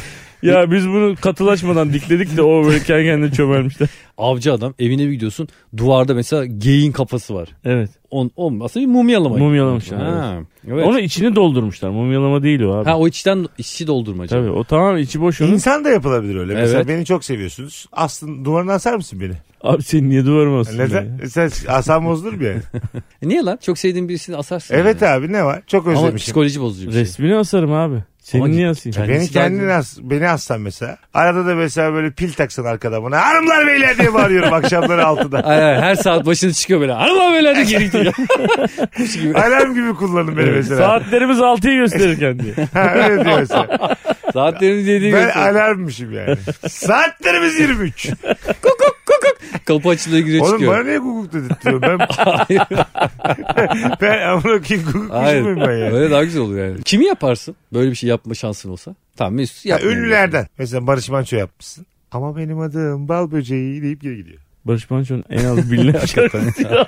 Speaker 2: Ya biz bunu katılaşmadan dikledik de o böyle kendi kendine çömelmişler.
Speaker 3: Avcı adam evine bir gidiyorsun duvarda mesela geyin kafası var.
Speaker 2: Evet.
Speaker 3: On, on, aslında bir mumyalama.
Speaker 2: Mumyalamışlar,
Speaker 3: Ha, evet.
Speaker 2: Onu içini doldurmuşlar. Mumyalama değil o abi.
Speaker 3: ha o içten içi doldurmaca.
Speaker 2: Tabii o tamam içi boş onun.
Speaker 1: İnsan da yapılabilir öyle. Mesela
Speaker 3: Evet.
Speaker 1: beni çok seviyorsunuz. Aslında duvarına asar mısın beni?
Speaker 2: Abi sen niye duvarıma asıyorsun? ya?
Speaker 1: Neden? E, Sen asan bozulur bir yani.
Speaker 3: E niye lan? Çok sevdiğin birisini asarsın.
Speaker 1: Evet
Speaker 3: yani.
Speaker 1: abi ne var? Çok
Speaker 3: Ama
Speaker 1: özlemişim.
Speaker 3: psikoloji bozucu bir şey.
Speaker 2: Resmini asarım abi. Seni
Speaker 3: Ama
Speaker 2: niye asayım?
Speaker 3: kendi-
Speaker 1: Beni
Speaker 3: Kendisi daha
Speaker 1: kendin
Speaker 3: güzel.
Speaker 1: as, beni assan mesela. Arada da mesela böyle pil taksan arkada bana. Hanımlar beyler diye bağırıyorum akşamları altıda.
Speaker 3: Ay, ay, her saat başına çıkıyor böyle. Hanım böyle de geri gidiyor. Kuş gibi.
Speaker 1: Alarm gibi kullanın beni mesela.
Speaker 2: Saatlerimiz 6'yı gösterirken diye.
Speaker 1: Ha, öyle diyor mesela.
Speaker 3: Saatlerimiz yediği
Speaker 1: Ben
Speaker 3: ben...
Speaker 1: alarmmışım yani. Saatlerimiz 23.
Speaker 3: Kapı açılıyor giriyor
Speaker 1: Oğlum
Speaker 3: çıkıyor.
Speaker 1: bana niye hukuk dedirtiyor? Ben, ben amına koyayım hukuk
Speaker 3: Hayır.
Speaker 1: muyum ben yani?
Speaker 3: Öyle daha güzel olur yani. Kimi yaparsın? Böyle bir şey yapma şansın olsa. Tamam Mesut
Speaker 1: Ya,
Speaker 3: yapmıyor.
Speaker 1: ünlülerden. Mesela Barış Manço yapmışsın. Ama benim adım bal böceği deyip geri gidiyor.
Speaker 2: Barış Manço'nun en az bilinen şarkısı.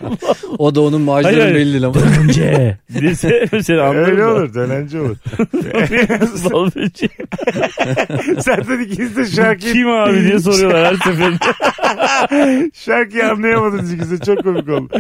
Speaker 3: O da onun
Speaker 2: Hayır, hayır.
Speaker 3: maaşları belli lan.
Speaker 2: Önce. Dese seni anlarım
Speaker 1: Öyle
Speaker 2: da.
Speaker 1: olur. Dönence olur.
Speaker 2: Bal böceği.
Speaker 1: Zaten ikiniz de şarkıyı
Speaker 2: Kim abi diye soruyorlar her seferinde.
Speaker 1: Şarkıyı anlayamadınız ikisi. Çok komik oldu.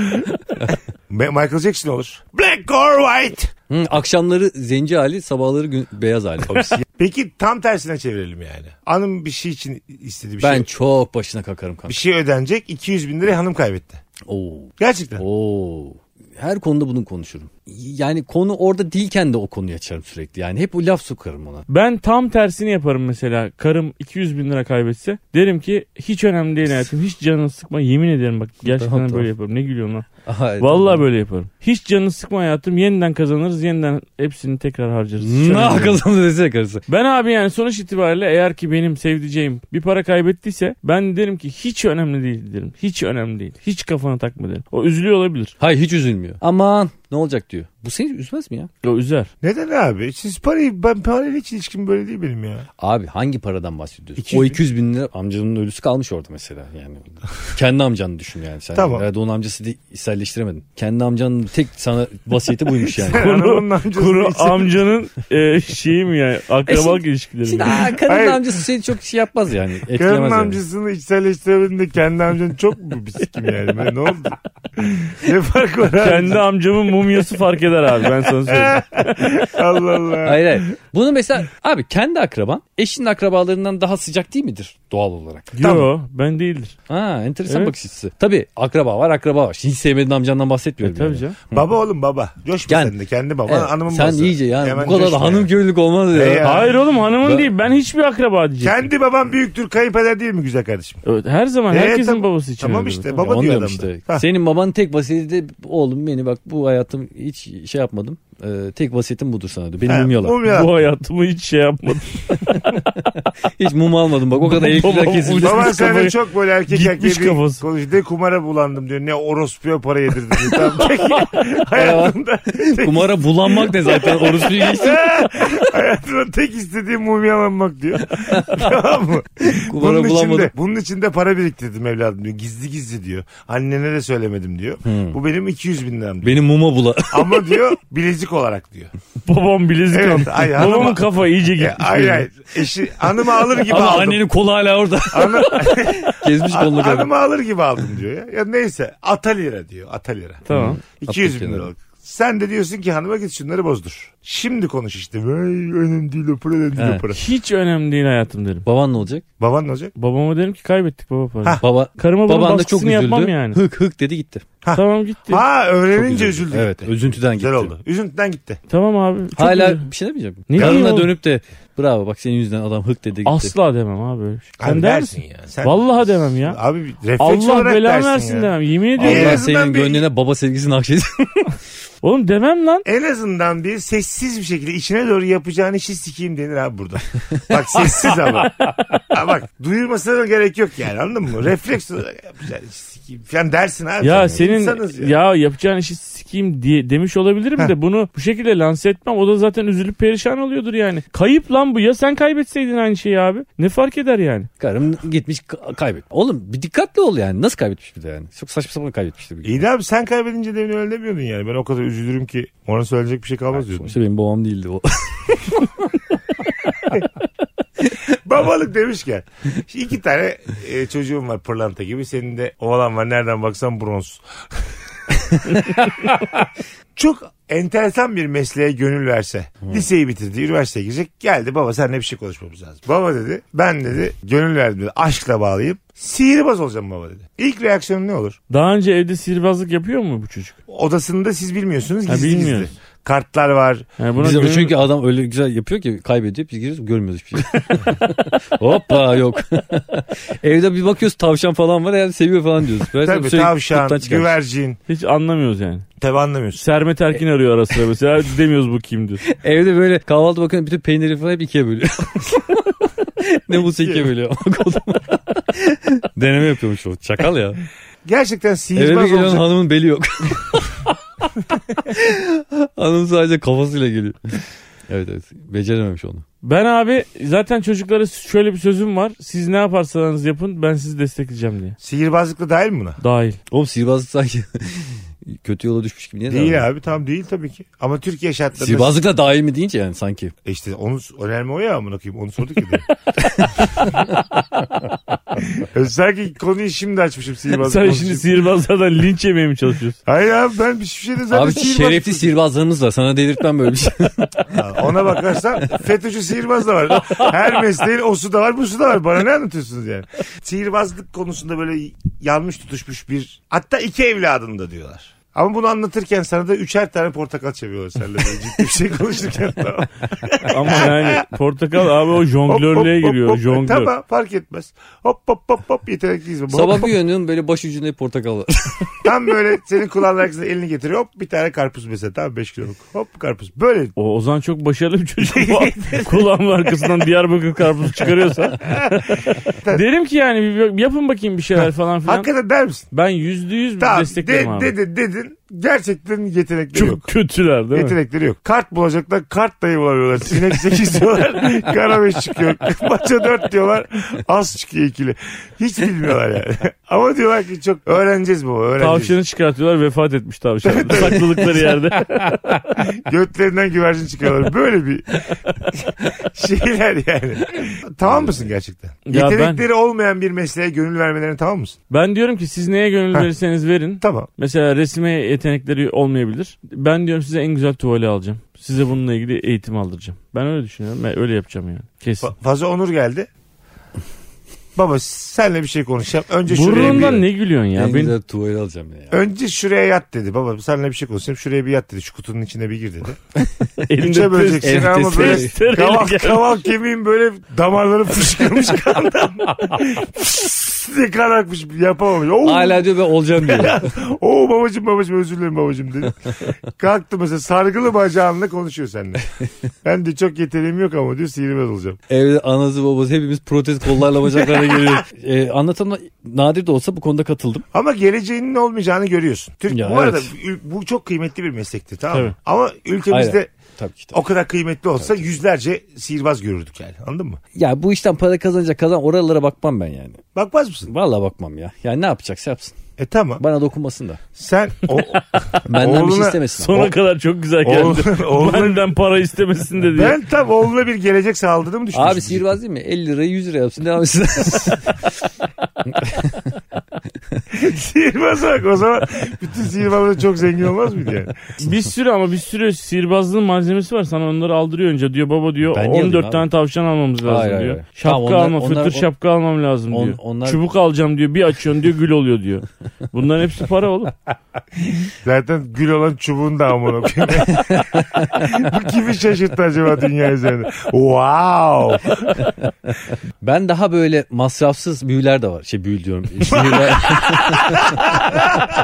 Speaker 1: Ma- Michael Jackson olur. Black or white.
Speaker 3: Hı, akşamları zenci hali, sabahları gün, beyaz hali.
Speaker 1: şey- Peki tam tersine çevirelim yani. Hanım bir şey için istedi bir
Speaker 3: ben
Speaker 1: şey.
Speaker 3: çok başına kakarım kanka.
Speaker 1: Bir şey ödenecek. 200 bin lirayı hanım kaybetti.
Speaker 3: Oo.
Speaker 1: Gerçekten.
Speaker 3: Oo. Her konuda bunu konuşurum. Yani konu orada değilken de o konuyu açarım sürekli. Yani hep o laf sokarım ona.
Speaker 2: Ben tam tersini yaparım mesela. Karım 200 bin lira kaybetse. Derim ki hiç önemli değil hayatım. Hiç canını sıkma. Yemin ederim bak gerçekten
Speaker 3: Tamam,
Speaker 2: böyle
Speaker 3: tamam.
Speaker 2: yaparım. Ne gülüyorsun lan.
Speaker 3: Aha, evet,
Speaker 2: Vallahi
Speaker 3: tamam.
Speaker 2: böyle yaparım. Hiç canını sıkma hayatım. Yeniden kazanırız. Yeniden hepsini tekrar harcarız. Hiç
Speaker 3: Ne
Speaker 2: önemli değil.
Speaker 3: akıllı dese karısı.
Speaker 2: Ben abi yani sonuç itibariyle eğer ki benim sevdiceğim bir para kaybettiyse ben derim ki hiç önemli değil derim. Hiç önemli değil. Hiç kafana takma derim. O üzülüyor olabilir.
Speaker 3: Hayır hiç üzülmüyor. Aman ne olacak diyor. Bu seni üzmez mi ya?
Speaker 2: O üzer.
Speaker 1: Neden abi? Siz parayı ben parayla hiç ilişkim böyle değil benim ya.
Speaker 3: Abi hangi paradan bahsediyorsun?
Speaker 1: 200
Speaker 3: o
Speaker 1: bin.
Speaker 3: 200 bin lira amcanın ölüsü kalmış orada mesela. Yani kendi amcanı düşün yani sen.
Speaker 1: Tamam.
Speaker 3: Herhalde onun amcası değil, içselleştiremedin. Kendi amcanın tek sana vasiyeti buymuş yani.
Speaker 1: Hanımın amcası
Speaker 2: Kuru
Speaker 1: için-
Speaker 2: amcanın e, şeyi mi yani akrabalık ilişkileri
Speaker 3: Şimdi
Speaker 2: mi?
Speaker 3: aa,
Speaker 1: Hayır.
Speaker 3: kadın amcası seni çok şey yapmaz yani. Etkilemez
Speaker 1: Karının
Speaker 3: yani.
Speaker 1: amcasını içselleştiremedin de kendi amcanın çok mu bisikim yani? Ben, ne oldu? ne fark var abi?
Speaker 2: Kendi amcamın mumyası fark eder abi ben sana söyleyeyim.
Speaker 1: Allah Allah.
Speaker 3: Hayır hayır. Bunu mesela abi kendi akraban eşinin akrabalarından daha sıcak değil midir doğal olarak?
Speaker 2: Yo ben değildir. E,
Speaker 3: Ha enteresan
Speaker 2: Evet.
Speaker 3: bakış açısı. Tabii akraba var akraba var. Hiç sevmediğin amcandan bahsetmiyorum.
Speaker 2: E, Tabii
Speaker 3: yani.
Speaker 2: canım.
Speaker 1: Baba oğlum baba. Coşma
Speaker 3: Yani-
Speaker 1: sen de kendi baban.
Speaker 3: Evet,
Speaker 1: hanımın
Speaker 3: sen
Speaker 1: babası.
Speaker 3: iyice yani
Speaker 1: Hemen
Speaker 3: bu kadar
Speaker 1: coşma
Speaker 3: da hanım
Speaker 1: yani.
Speaker 3: köylülük olmaz ya.
Speaker 1: E ya.
Speaker 2: Hayır oğlum hanımın
Speaker 3: Ben-
Speaker 2: değil ben hiçbir akraba diyeceğim.
Speaker 1: Kendi babam büyüktür kayınpeder değil mi güzel kardeşim?
Speaker 2: Evet, Her zaman
Speaker 1: E,
Speaker 2: herkesin
Speaker 1: tamam.
Speaker 2: babası için.
Speaker 1: Tamam
Speaker 2: öyledir.
Speaker 1: işte,
Speaker 2: Tabii.
Speaker 1: baba-
Speaker 3: Onu
Speaker 1: diyor
Speaker 3: diyorum
Speaker 1: adam da.
Speaker 3: işte.
Speaker 1: Ha.
Speaker 3: Senin baban tek vasiyeti de oğlum beni bak bu hayatım hiç şey yapmadım. Ee, tek vasiyetim budur sana diyor. Beni
Speaker 1: Ha,
Speaker 3: mumyala.
Speaker 1: mumyala.
Speaker 2: Bu hayatımı hiç şey yapmadım.
Speaker 3: Hiç mum almadım bak o kadar elektrikler
Speaker 2: Baba-
Speaker 3: kesildi.
Speaker 1: Baban
Speaker 2: Gitmiş
Speaker 1: sana
Speaker 2: kafayı.
Speaker 1: çok böyle erkek
Speaker 2: Gitmiş
Speaker 1: erkeğe bir
Speaker 2: kafası.
Speaker 1: konuş. Ne kumara bulandım diyor. Ne orospuya para yedirdim diyor. Tamam, peki. hayatımda,
Speaker 3: Kumara bulanmak ne zaten orospu geçti.
Speaker 1: hayatımda tek istediğim mumyalanmak diyor. tamam mı?
Speaker 3: Kumara
Speaker 1: bunun,
Speaker 3: bulamadım.
Speaker 1: içinde, bunun içinde para biriktirdim evladım diyor. Gizli gizli diyor. Annene de söylemedim diyor. Bu benim 200 bin liram diyor.
Speaker 3: Beni muma bula.
Speaker 1: Ama diyor bilezik olarak diyor.
Speaker 2: Babam bilezik
Speaker 1: Evet,
Speaker 2: almış.
Speaker 1: ay, hanım- E,
Speaker 2: Babamın kafa iyice
Speaker 1: Ya,
Speaker 2: gitmiş.
Speaker 1: hayır
Speaker 2: benim.
Speaker 1: hayır. Eşi, hanımı alır gibi
Speaker 3: Ama
Speaker 1: aldım.
Speaker 3: annenin kolu hala orada.
Speaker 1: Ana-
Speaker 3: Gezmiş kolunu kadar.
Speaker 1: Hanımı alır gibi aldım diyor ya. Ya neyse ata lira diyor ata lira.
Speaker 2: Tamam.
Speaker 1: 200 bin
Speaker 3: Atlık
Speaker 1: liralık. Sen de diyorsun ki hanıma git şunları bozdur. Şimdi konuş işte. Vay, önemli değil o para önemli değil o
Speaker 4: He.
Speaker 1: para.
Speaker 2: Hiç önemli değil hayatım derim.
Speaker 3: Baban ne olacak?
Speaker 1: Baban ne olacak?
Speaker 2: Babama derim ki kaybettik baba parayı.
Speaker 3: Baba
Speaker 2: Karıma bunun
Speaker 3: baban da çok
Speaker 2: baskısını
Speaker 3: üzüldü.
Speaker 2: yapmam yani.
Speaker 3: Hık hık dedi gitti. Çok
Speaker 2: Tamam gitti.
Speaker 1: Ha öğrenince
Speaker 3: üzüldü.
Speaker 1: üzüldü.
Speaker 3: Evet
Speaker 1: gitti.
Speaker 3: üzüntüden gitti.
Speaker 1: Güzel oldu. Üzüntüden gitti.
Speaker 2: Tamam abi. Çok
Speaker 3: Hala
Speaker 2: üzüldüm.
Speaker 3: bir şey demeyecek mi?
Speaker 2: Ne diyeyim
Speaker 3: Yanına
Speaker 2: oğlum?
Speaker 3: dönüp de bravo bak senin yüzünden adam hık dedi gitti.
Speaker 2: Asla demem abi öyle bir şey. Sen
Speaker 1: Abi
Speaker 2: der
Speaker 1: dersin
Speaker 2: misin?
Speaker 1: ya. Sen-
Speaker 2: Vallahi demem ya.
Speaker 1: Abi refleks
Speaker 2: Allah
Speaker 1: olarak
Speaker 2: belamı
Speaker 1: dersin
Speaker 2: versin
Speaker 1: ya.
Speaker 2: demem. Yemin ediyorum.
Speaker 1: En
Speaker 3: Allah
Speaker 1: azından
Speaker 3: senin
Speaker 1: bir-
Speaker 3: gönlüne baba sevgisi nakşetsin.
Speaker 2: Oğlum demem lan.
Speaker 1: En azından bir sessiz bir şekilde içine doğru yapacağın işi sikeyim denir abi burada. bak sessiz ama. ha bak duyurmasına da gerek yok yani anladın mı? Refleks olarak yapacağın işi sikeyim falan dersin abi.
Speaker 2: Ya
Speaker 1: sen.
Speaker 2: senin
Speaker 1: İnsanız
Speaker 2: ya. yapacağın işi sikeyim diye demiş olabilirim de bunu bu şekilde lanse etmem. O da zaten üzülüp perişan oluyordur yani. Kayıp lan bu ya sen kaybetseydin aynı şeyi abi. Ne fark eder yani?
Speaker 3: Karım gitmiş ka- kaybet. Oğlum bir dikkatli ol yani. Nasıl kaybetmiş bir de yani? Çok saçma sapan kaybetmiştir. Bir
Speaker 1: İyi de abi sen kaybedince demin öyle demiyordun yani. Ben o kadar üzülürüm ki ona söyleyecek bir şey kalmaz diyordun.
Speaker 3: Sonuçta benim babam değildi o.
Speaker 1: Babalık demişken. Şimdi iki tane e, çocuğum var pırlanta gibi. Senin de oğlan var nereden baksan bronz. Çok enteresan bir mesleğe gönül verse. Liseyi bitirdi, üniversiteye girecek. Geldi baba seninle bir şey konuşmamız lazım. Baba dedi ben dedi gönül verdim dedi. Aşkla bağlayıp sihirbaz olacağım baba dedi. İlk reaksiyonun ne olur?
Speaker 2: Daha önce evde sihirbazlık yapıyor mu bu çocuk?
Speaker 1: Odasında siz bilmiyorsunuz
Speaker 2: Ha,
Speaker 1: gizli gizli.
Speaker 2: bilmiyoruz.
Speaker 1: Kartlar var.
Speaker 2: Yani buna
Speaker 3: Biz
Speaker 2: gönül-
Speaker 3: çünkü adam öyle güzel yapıyor ki kaybediyor biz giriyoruz görmüyoruz hiçbir şey. Hoppa yok. Evde bir bakıyoruz tavşan falan var yani seviyor falan diyoruz. Böyle
Speaker 1: Tabii
Speaker 3: sürekli
Speaker 1: tavşan,
Speaker 3: kurttan çıkarmış.
Speaker 1: güvercin.
Speaker 2: Hiç anlamıyoruz yani.
Speaker 1: Tabii anlamıyorsun.
Speaker 2: Sermet Erkin arıyor ara sıra mesela. Demiyoruz bu kimdir.
Speaker 3: Evde böyle kahvaltı bakın bütün peyniri falan hep ikiye bölüyor. ne bu ikiye bölüyor. Deneme yapıyormuş o çakal ya.
Speaker 1: Gerçekten
Speaker 3: Eve bir
Speaker 1: sihirbaz
Speaker 3: gelen
Speaker 1: olacak.
Speaker 3: hanımın beli yok. Hanım sadece kafasıyla geliyor. Evet evet becerememiş onu.
Speaker 2: Ben abi zaten çocuklara şöyle bir sözüm var. Siz ne yaparsanız yapın ben sizi destekleyeceğim diye.
Speaker 1: Sihirbazlıkla dahil mi buna?
Speaker 2: Dahil.
Speaker 3: Oğlum sihirbazlık sanki kötü yola düşmüş gibi. Niye
Speaker 1: Değil
Speaker 3: davranıyor?
Speaker 1: abi tam değil tabii ki. Ama Türkiye şartlarında
Speaker 3: Sihirbazlıkla dahil mi deyince yani sanki.
Speaker 1: E işte onu önemli o ya amına koyayım. Onu sorduk ya. dedim. E Sanki konuyu şimdi açmışım sihirbazlık.
Speaker 2: Sen
Speaker 1: konusunu.
Speaker 2: şimdi sihirbazlardan linç yemeye mi çalışıyorsun?
Speaker 1: Hayır abi ben bir şeyde zaten
Speaker 3: Abi
Speaker 1: sihirbaz-
Speaker 3: şerefli sihirbazlarımız var sana delirtmem böyle bir şey.
Speaker 1: Ha, Ona bakarsan FETÖ'cü sihirbaz da var. Her mesleğin o su da var bu su da var. Bana ne anlatıyorsunuz yani? Sihirbazlık konusunda böyle yanlış tutuşmuş bir hatta iki evladın da diyorlar. Ama bunu anlatırken sana da üçer tane portakal çeviriyorlar seninle. böyle Ciddi bir şey konuşurken tamam.
Speaker 2: Ama yani portakal abi o
Speaker 1: Hop, hop,
Speaker 2: jonglörlüğe
Speaker 1: hop,
Speaker 2: giriyor.
Speaker 1: hop. E,
Speaker 2: Jonglör.
Speaker 1: Tamam fark etmez. Hop hop hop hop yetenekliyiz. Hop,
Speaker 3: Sabah
Speaker 1: hop.
Speaker 3: bir uyanıyorum böyle baş ucunda hep portakal var.
Speaker 1: Tam böyle senin kulağın arkasına elini getiriyor. Hop bir tane karpuz mesela. Tamam 5 kiloluk. Hop karpuz. Böyle
Speaker 2: O Ozan çok başarılı bir çocuk. Bu- Kulağımın arkasından Diyarbakır karpuzu çıkarıyorsa. Derim ki yani bir- bir yapın bakayım bir şeyler falan filan.
Speaker 1: hakikaten der misin?
Speaker 2: Ben yüzde yüz
Speaker 1: Tamam
Speaker 2: desteklerim
Speaker 1: de,
Speaker 2: abi.
Speaker 1: dedin dedin. Gerçekten yetenekleri
Speaker 2: çok
Speaker 1: yok.
Speaker 2: kötüler değil mi?
Speaker 1: Yetenekleri yok. Kart bulacaklar. Kart dayı bulamıyorlar. Sinek 8 diyorlar. Kara 5 çıkıyor. Maça 4 diyorlar. Az çıkıyor ikili. Hiç bilmiyorlar yani. Ama diyorlar ki çok öğreneceğiz baba. Öğreneceğiz.
Speaker 2: Tavşanı çıkartıyorlar vefat etmiş tavşan. Sakladıkları yerde.
Speaker 1: Götlerinden güvercin çıkıyorlar. Böyle bir şeyler yani. Tamam mısın gerçekten?
Speaker 2: Ya
Speaker 1: Yetenekleri olmayan bir mesleğe gönül vermelerine tamam mısın?
Speaker 2: Ben diyorum ki siz neye gönül
Speaker 1: Heh.
Speaker 2: verirseniz verin.
Speaker 1: Tamam.
Speaker 2: Mesela resime yetenekleri olmayabilir. Ben diyorum size en güzel tuvali alacağım. Size bununla ilgili eğitim aldıracağım. Ben öyle düşünüyorum. Ben öyle yapacağım yani. Kesin.
Speaker 1: Fa- Fazla Onur geldi. Baba senle bir şey konuşacağım. Önce şuraya bir...
Speaker 2: Burnundan ne gülüyorsun ya?
Speaker 3: en
Speaker 2: Ben-
Speaker 3: güzel tuvali alacağım ya.
Speaker 1: Önce şuraya yat dedi. Baba senle bir şey konuşacağım. Şuraya bir yat dedi. Şu kutunun içine bir gir dedi. Üçe
Speaker 2: elinde
Speaker 1: böleceksin
Speaker 3: evet,
Speaker 1: ama
Speaker 3: test-
Speaker 1: böyle
Speaker 2: testere
Speaker 1: kaval,
Speaker 2: gel.
Speaker 1: kaval kemiğin böyle damarları fışkırmış kandan. ne kanakmış yapamamış. Oo.
Speaker 3: Hala diyor ben olacağım diyor.
Speaker 1: Oo babacım babacım özür dilerim babacım dedi. Kalktı mesela sargılı bacağınla konuşuyor seninle. Ben de çok yeteneğim yok ama diyor sihirbaz olacağım.
Speaker 3: Evde anası babası hepimiz protez kollarla bacaklarla geliyoruz. Ee, anlatan nadir de olsa bu konuda katıldım.
Speaker 1: Ama geleceğinin olmayacağını görüyorsun. Türk,
Speaker 3: Ya,
Speaker 1: bu arada
Speaker 3: evet.
Speaker 1: ül- bu çok kıymetli bir meslektir tamam mı?
Speaker 2: Tabii.
Speaker 1: Ama ülkemizde
Speaker 3: Aynen. Tabii ki.
Speaker 1: o kadar kıymetli olsa yüzlerce sihirbaz görürdük yani anladın mı?
Speaker 3: Ya bu işten para kazanacak kazan oralara bakmam ben yani.
Speaker 1: Bakmaz mısın?
Speaker 3: Vallahi bakmam ya. Yani ne yapacaksa yapsın.
Speaker 1: E tamam.
Speaker 3: Bana dokunmasın da.
Speaker 1: Sen o,
Speaker 3: Benden bir
Speaker 1: Oğluna-
Speaker 3: şey istemesin.
Speaker 2: Sona kadar çok güzel geldi.
Speaker 1: Oğlum- oğlum-
Speaker 2: Benden para istemesin dedi.
Speaker 1: ben tam oğluna bir gelecek sağladığımı düşünüyorum.
Speaker 3: Abi sihirbaz değil mi? 50 lirayı 100 liraya yapsın devam etsin.
Speaker 1: Sihirbaz bak o zaman bütün sihirbazlar çok zengin olmaz mıydı yani?
Speaker 2: Bir sürü ama bir sürü sihirbazlığın malzemesi var. Sana onları aldırıyor önce diyor baba diyor
Speaker 3: Ben niye
Speaker 2: 14
Speaker 3: alayım
Speaker 2: tane tavşan almamız lazım
Speaker 3: Hayır, hayır,
Speaker 2: diyor.
Speaker 3: hayır.
Speaker 2: Şapka
Speaker 3: Tamam, onlar-
Speaker 2: alma
Speaker 3: onlar-
Speaker 2: fıtır
Speaker 3: on-
Speaker 2: şapka almam lazım
Speaker 3: On-
Speaker 2: diyor.
Speaker 3: onlar-
Speaker 2: Çubuk alacağım diyor bir açıyorsun diyor gül oluyor diyor. Bunların hepsi para oğlum.
Speaker 1: Zaten gül olan çubuğun da amına koyayım. Bu kimi şaşırttı acaba dünya üzerinde? Wow.
Speaker 3: Ben daha böyle masrafsız büyüler de var. Şey büyü diyorum. Sihirler.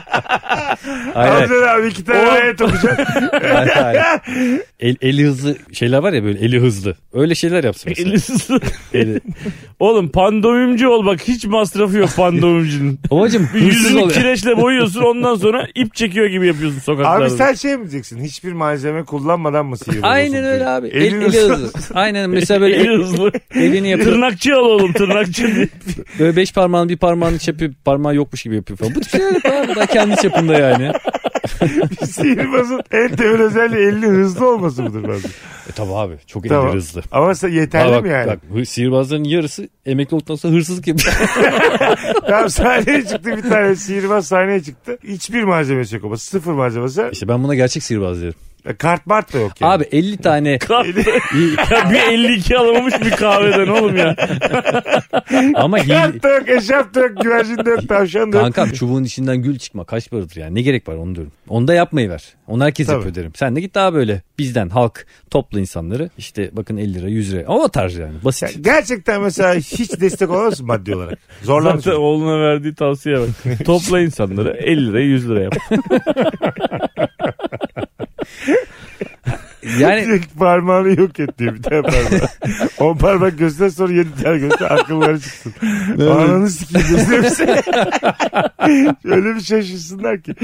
Speaker 3: hayır, hayır,
Speaker 1: Hamza abi iki tane ayet okuyacak.
Speaker 3: hayır, hayır. El, eli hızlı şeyler var ya böyle eli hızlı. Öyle şeyler yapsın mesela.
Speaker 2: Elisiz.
Speaker 3: Eli.
Speaker 2: oğlum pandomimci ol bak hiç masrafı yok pandomimcinin.
Speaker 3: Babacım
Speaker 2: Bir
Speaker 3: hırsız
Speaker 2: yüzünü
Speaker 3: oluyor.
Speaker 2: kireçle boyuyorsun ondan sonra ip çekiyor gibi yapıyorsun sokaklarda.
Speaker 1: Abi sen şey mi diyeceksin? Hiçbir malzeme kullanmadan mı sihirbaz
Speaker 3: Aynen
Speaker 1: olsun?
Speaker 3: öyle abi. El,
Speaker 1: Elin
Speaker 3: eli hızlı. Aynen mesela böyle
Speaker 2: Eli
Speaker 3: el-
Speaker 2: hızlı.
Speaker 3: elini yapıyor.
Speaker 2: Tırnakçı al oğlum tırnakçı diye.
Speaker 3: Böyle beş parmağını bir parmağını şey yapıyor. Parmağı yokmuş gibi yapıyor falan. Bu tip şeyler yapıyor abi. Daha kendi çapında yani.
Speaker 1: Sihirbazın en temel özelliği elinin hızlı olması mıdır bence?
Speaker 3: E tabi abi. Çok eli
Speaker 1: Tamam.
Speaker 3: hızlı.
Speaker 1: Ama sen yeterli
Speaker 3: Aa, bak,
Speaker 1: mi yani?
Speaker 3: bak, hı- sihirbazların yarısı emekli olduktan sonra hırsızlık yapıyor.
Speaker 1: Tamam sahneye çıktı bir tane sihirbaz sahneye çıktı. Hiçbir malzemesi yok ama sıfır malzemesi.
Speaker 3: işte ben buna gerçek sihirbaz derim.
Speaker 1: Kart mart da yok yani.
Speaker 3: Abi 50 tane
Speaker 2: ya bir 52 alamamış bir kahveden oğlum ya.
Speaker 3: ama hile,
Speaker 1: Kart da yok, eşarp da yok, güvercin de yok, tavşan da yok.
Speaker 3: Kankam çubuğun içinden gül çıkma kaç paradır yani ne gerek var onu diyorum. Onu da yapmayı ver. Onu herkes
Speaker 1: Tabii.
Speaker 3: yapıyor derim. Sen de git daha böyle bizden halk topla insanları işte bakın 50 lira 100 lira ama o tarz yani
Speaker 1: Ya
Speaker 3: basit.
Speaker 1: gerçekten mesela hiç destek olamazsın maddi olarak. Zorlanmış.
Speaker 2: Zaten oğluna verdiği tavsiye bak. Topla insanları 50 lira 100 lira yap.
Speaker 3: Yani
Speaker 1: parmağını yok et diyor bir tane parmağı. On parmak göster sonra yedi tane göster akılları çıksın. Ananı sikeyim desin hepsi. Öyle bir şaşırsınlar ki.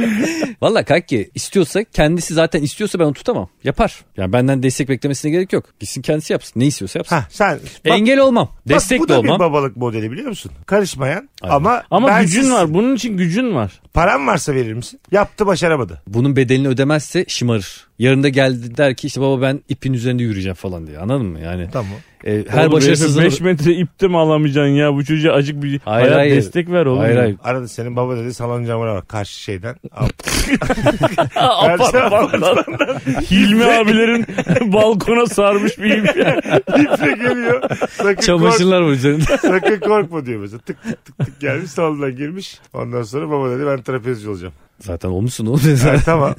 Speaker 3: valla kanki istiyorsa kendisi zaten istiyorsa ben onu tutamam yapar. Yani benden destek beklemesine gerek yok. Gitsin kendisi yapsın ne istiyorsa yapsın.
Speaker 1: Ha sen bak,
Speaker 3: Engel olmam
Speaker 1: bak,
Speaker 3: destek
Speaker 1: bu
Speaker 3: de
Speaker 1: da bir
Speaker 3: olmam.
Speaker 1: babalık modeli biliyor musun? Karışmayan ama
Speaker 2: Ama
Speaker 1: ben
Speaker 2: gücün
Speaker 1: siz-
Speaker 2: var. Bunun için gücün var.
Speaker 1: Param varsa verir misin? Yaptı başaramadı.
Speaker 3: Bunun bedelini ödemezse şımarır. Yarın da geldi der ki işte baba ben ipin üzerinde yürüyeceğim falan diye anladın mı yani.
Speaker 1: Tamam.
Speaker 3: e, her
Speaker 2: Oğlum,
Speaker 3: başarısızlığı...
Speaker 2: 5 metre ipte mi alamayacaksın ya? Bu çocuğa acık bir
Speaker 3: Hayır,
Speaker 2: hayat
Speaker 3: hayır.
Speaker 2: destek ver oğlum.
Speaker 3: Hayır
Speaker 2: ya.
Speaker 3: hayır.
Speaker 1: Arada senin baba dedi salon camına bak karşı şeyden. Al.
Speaker 2: Apar, apar, apar. Hilmi abilerin balkona sarmış bir ip.
Speaker 1: İple geliyor. Sakın korkma.
Speaker 3: Çamaşırlar var üzerinde.
Speaker 1: Sakın korkma diyor mesela. Tık tık tık tık gelmiş salondan girmiş. Ondan sonra baba dedi ben trapezci olacağım.
Speaker 3: Zaten olmuşsun oğlum.
Speaker 1: Ha, tamam.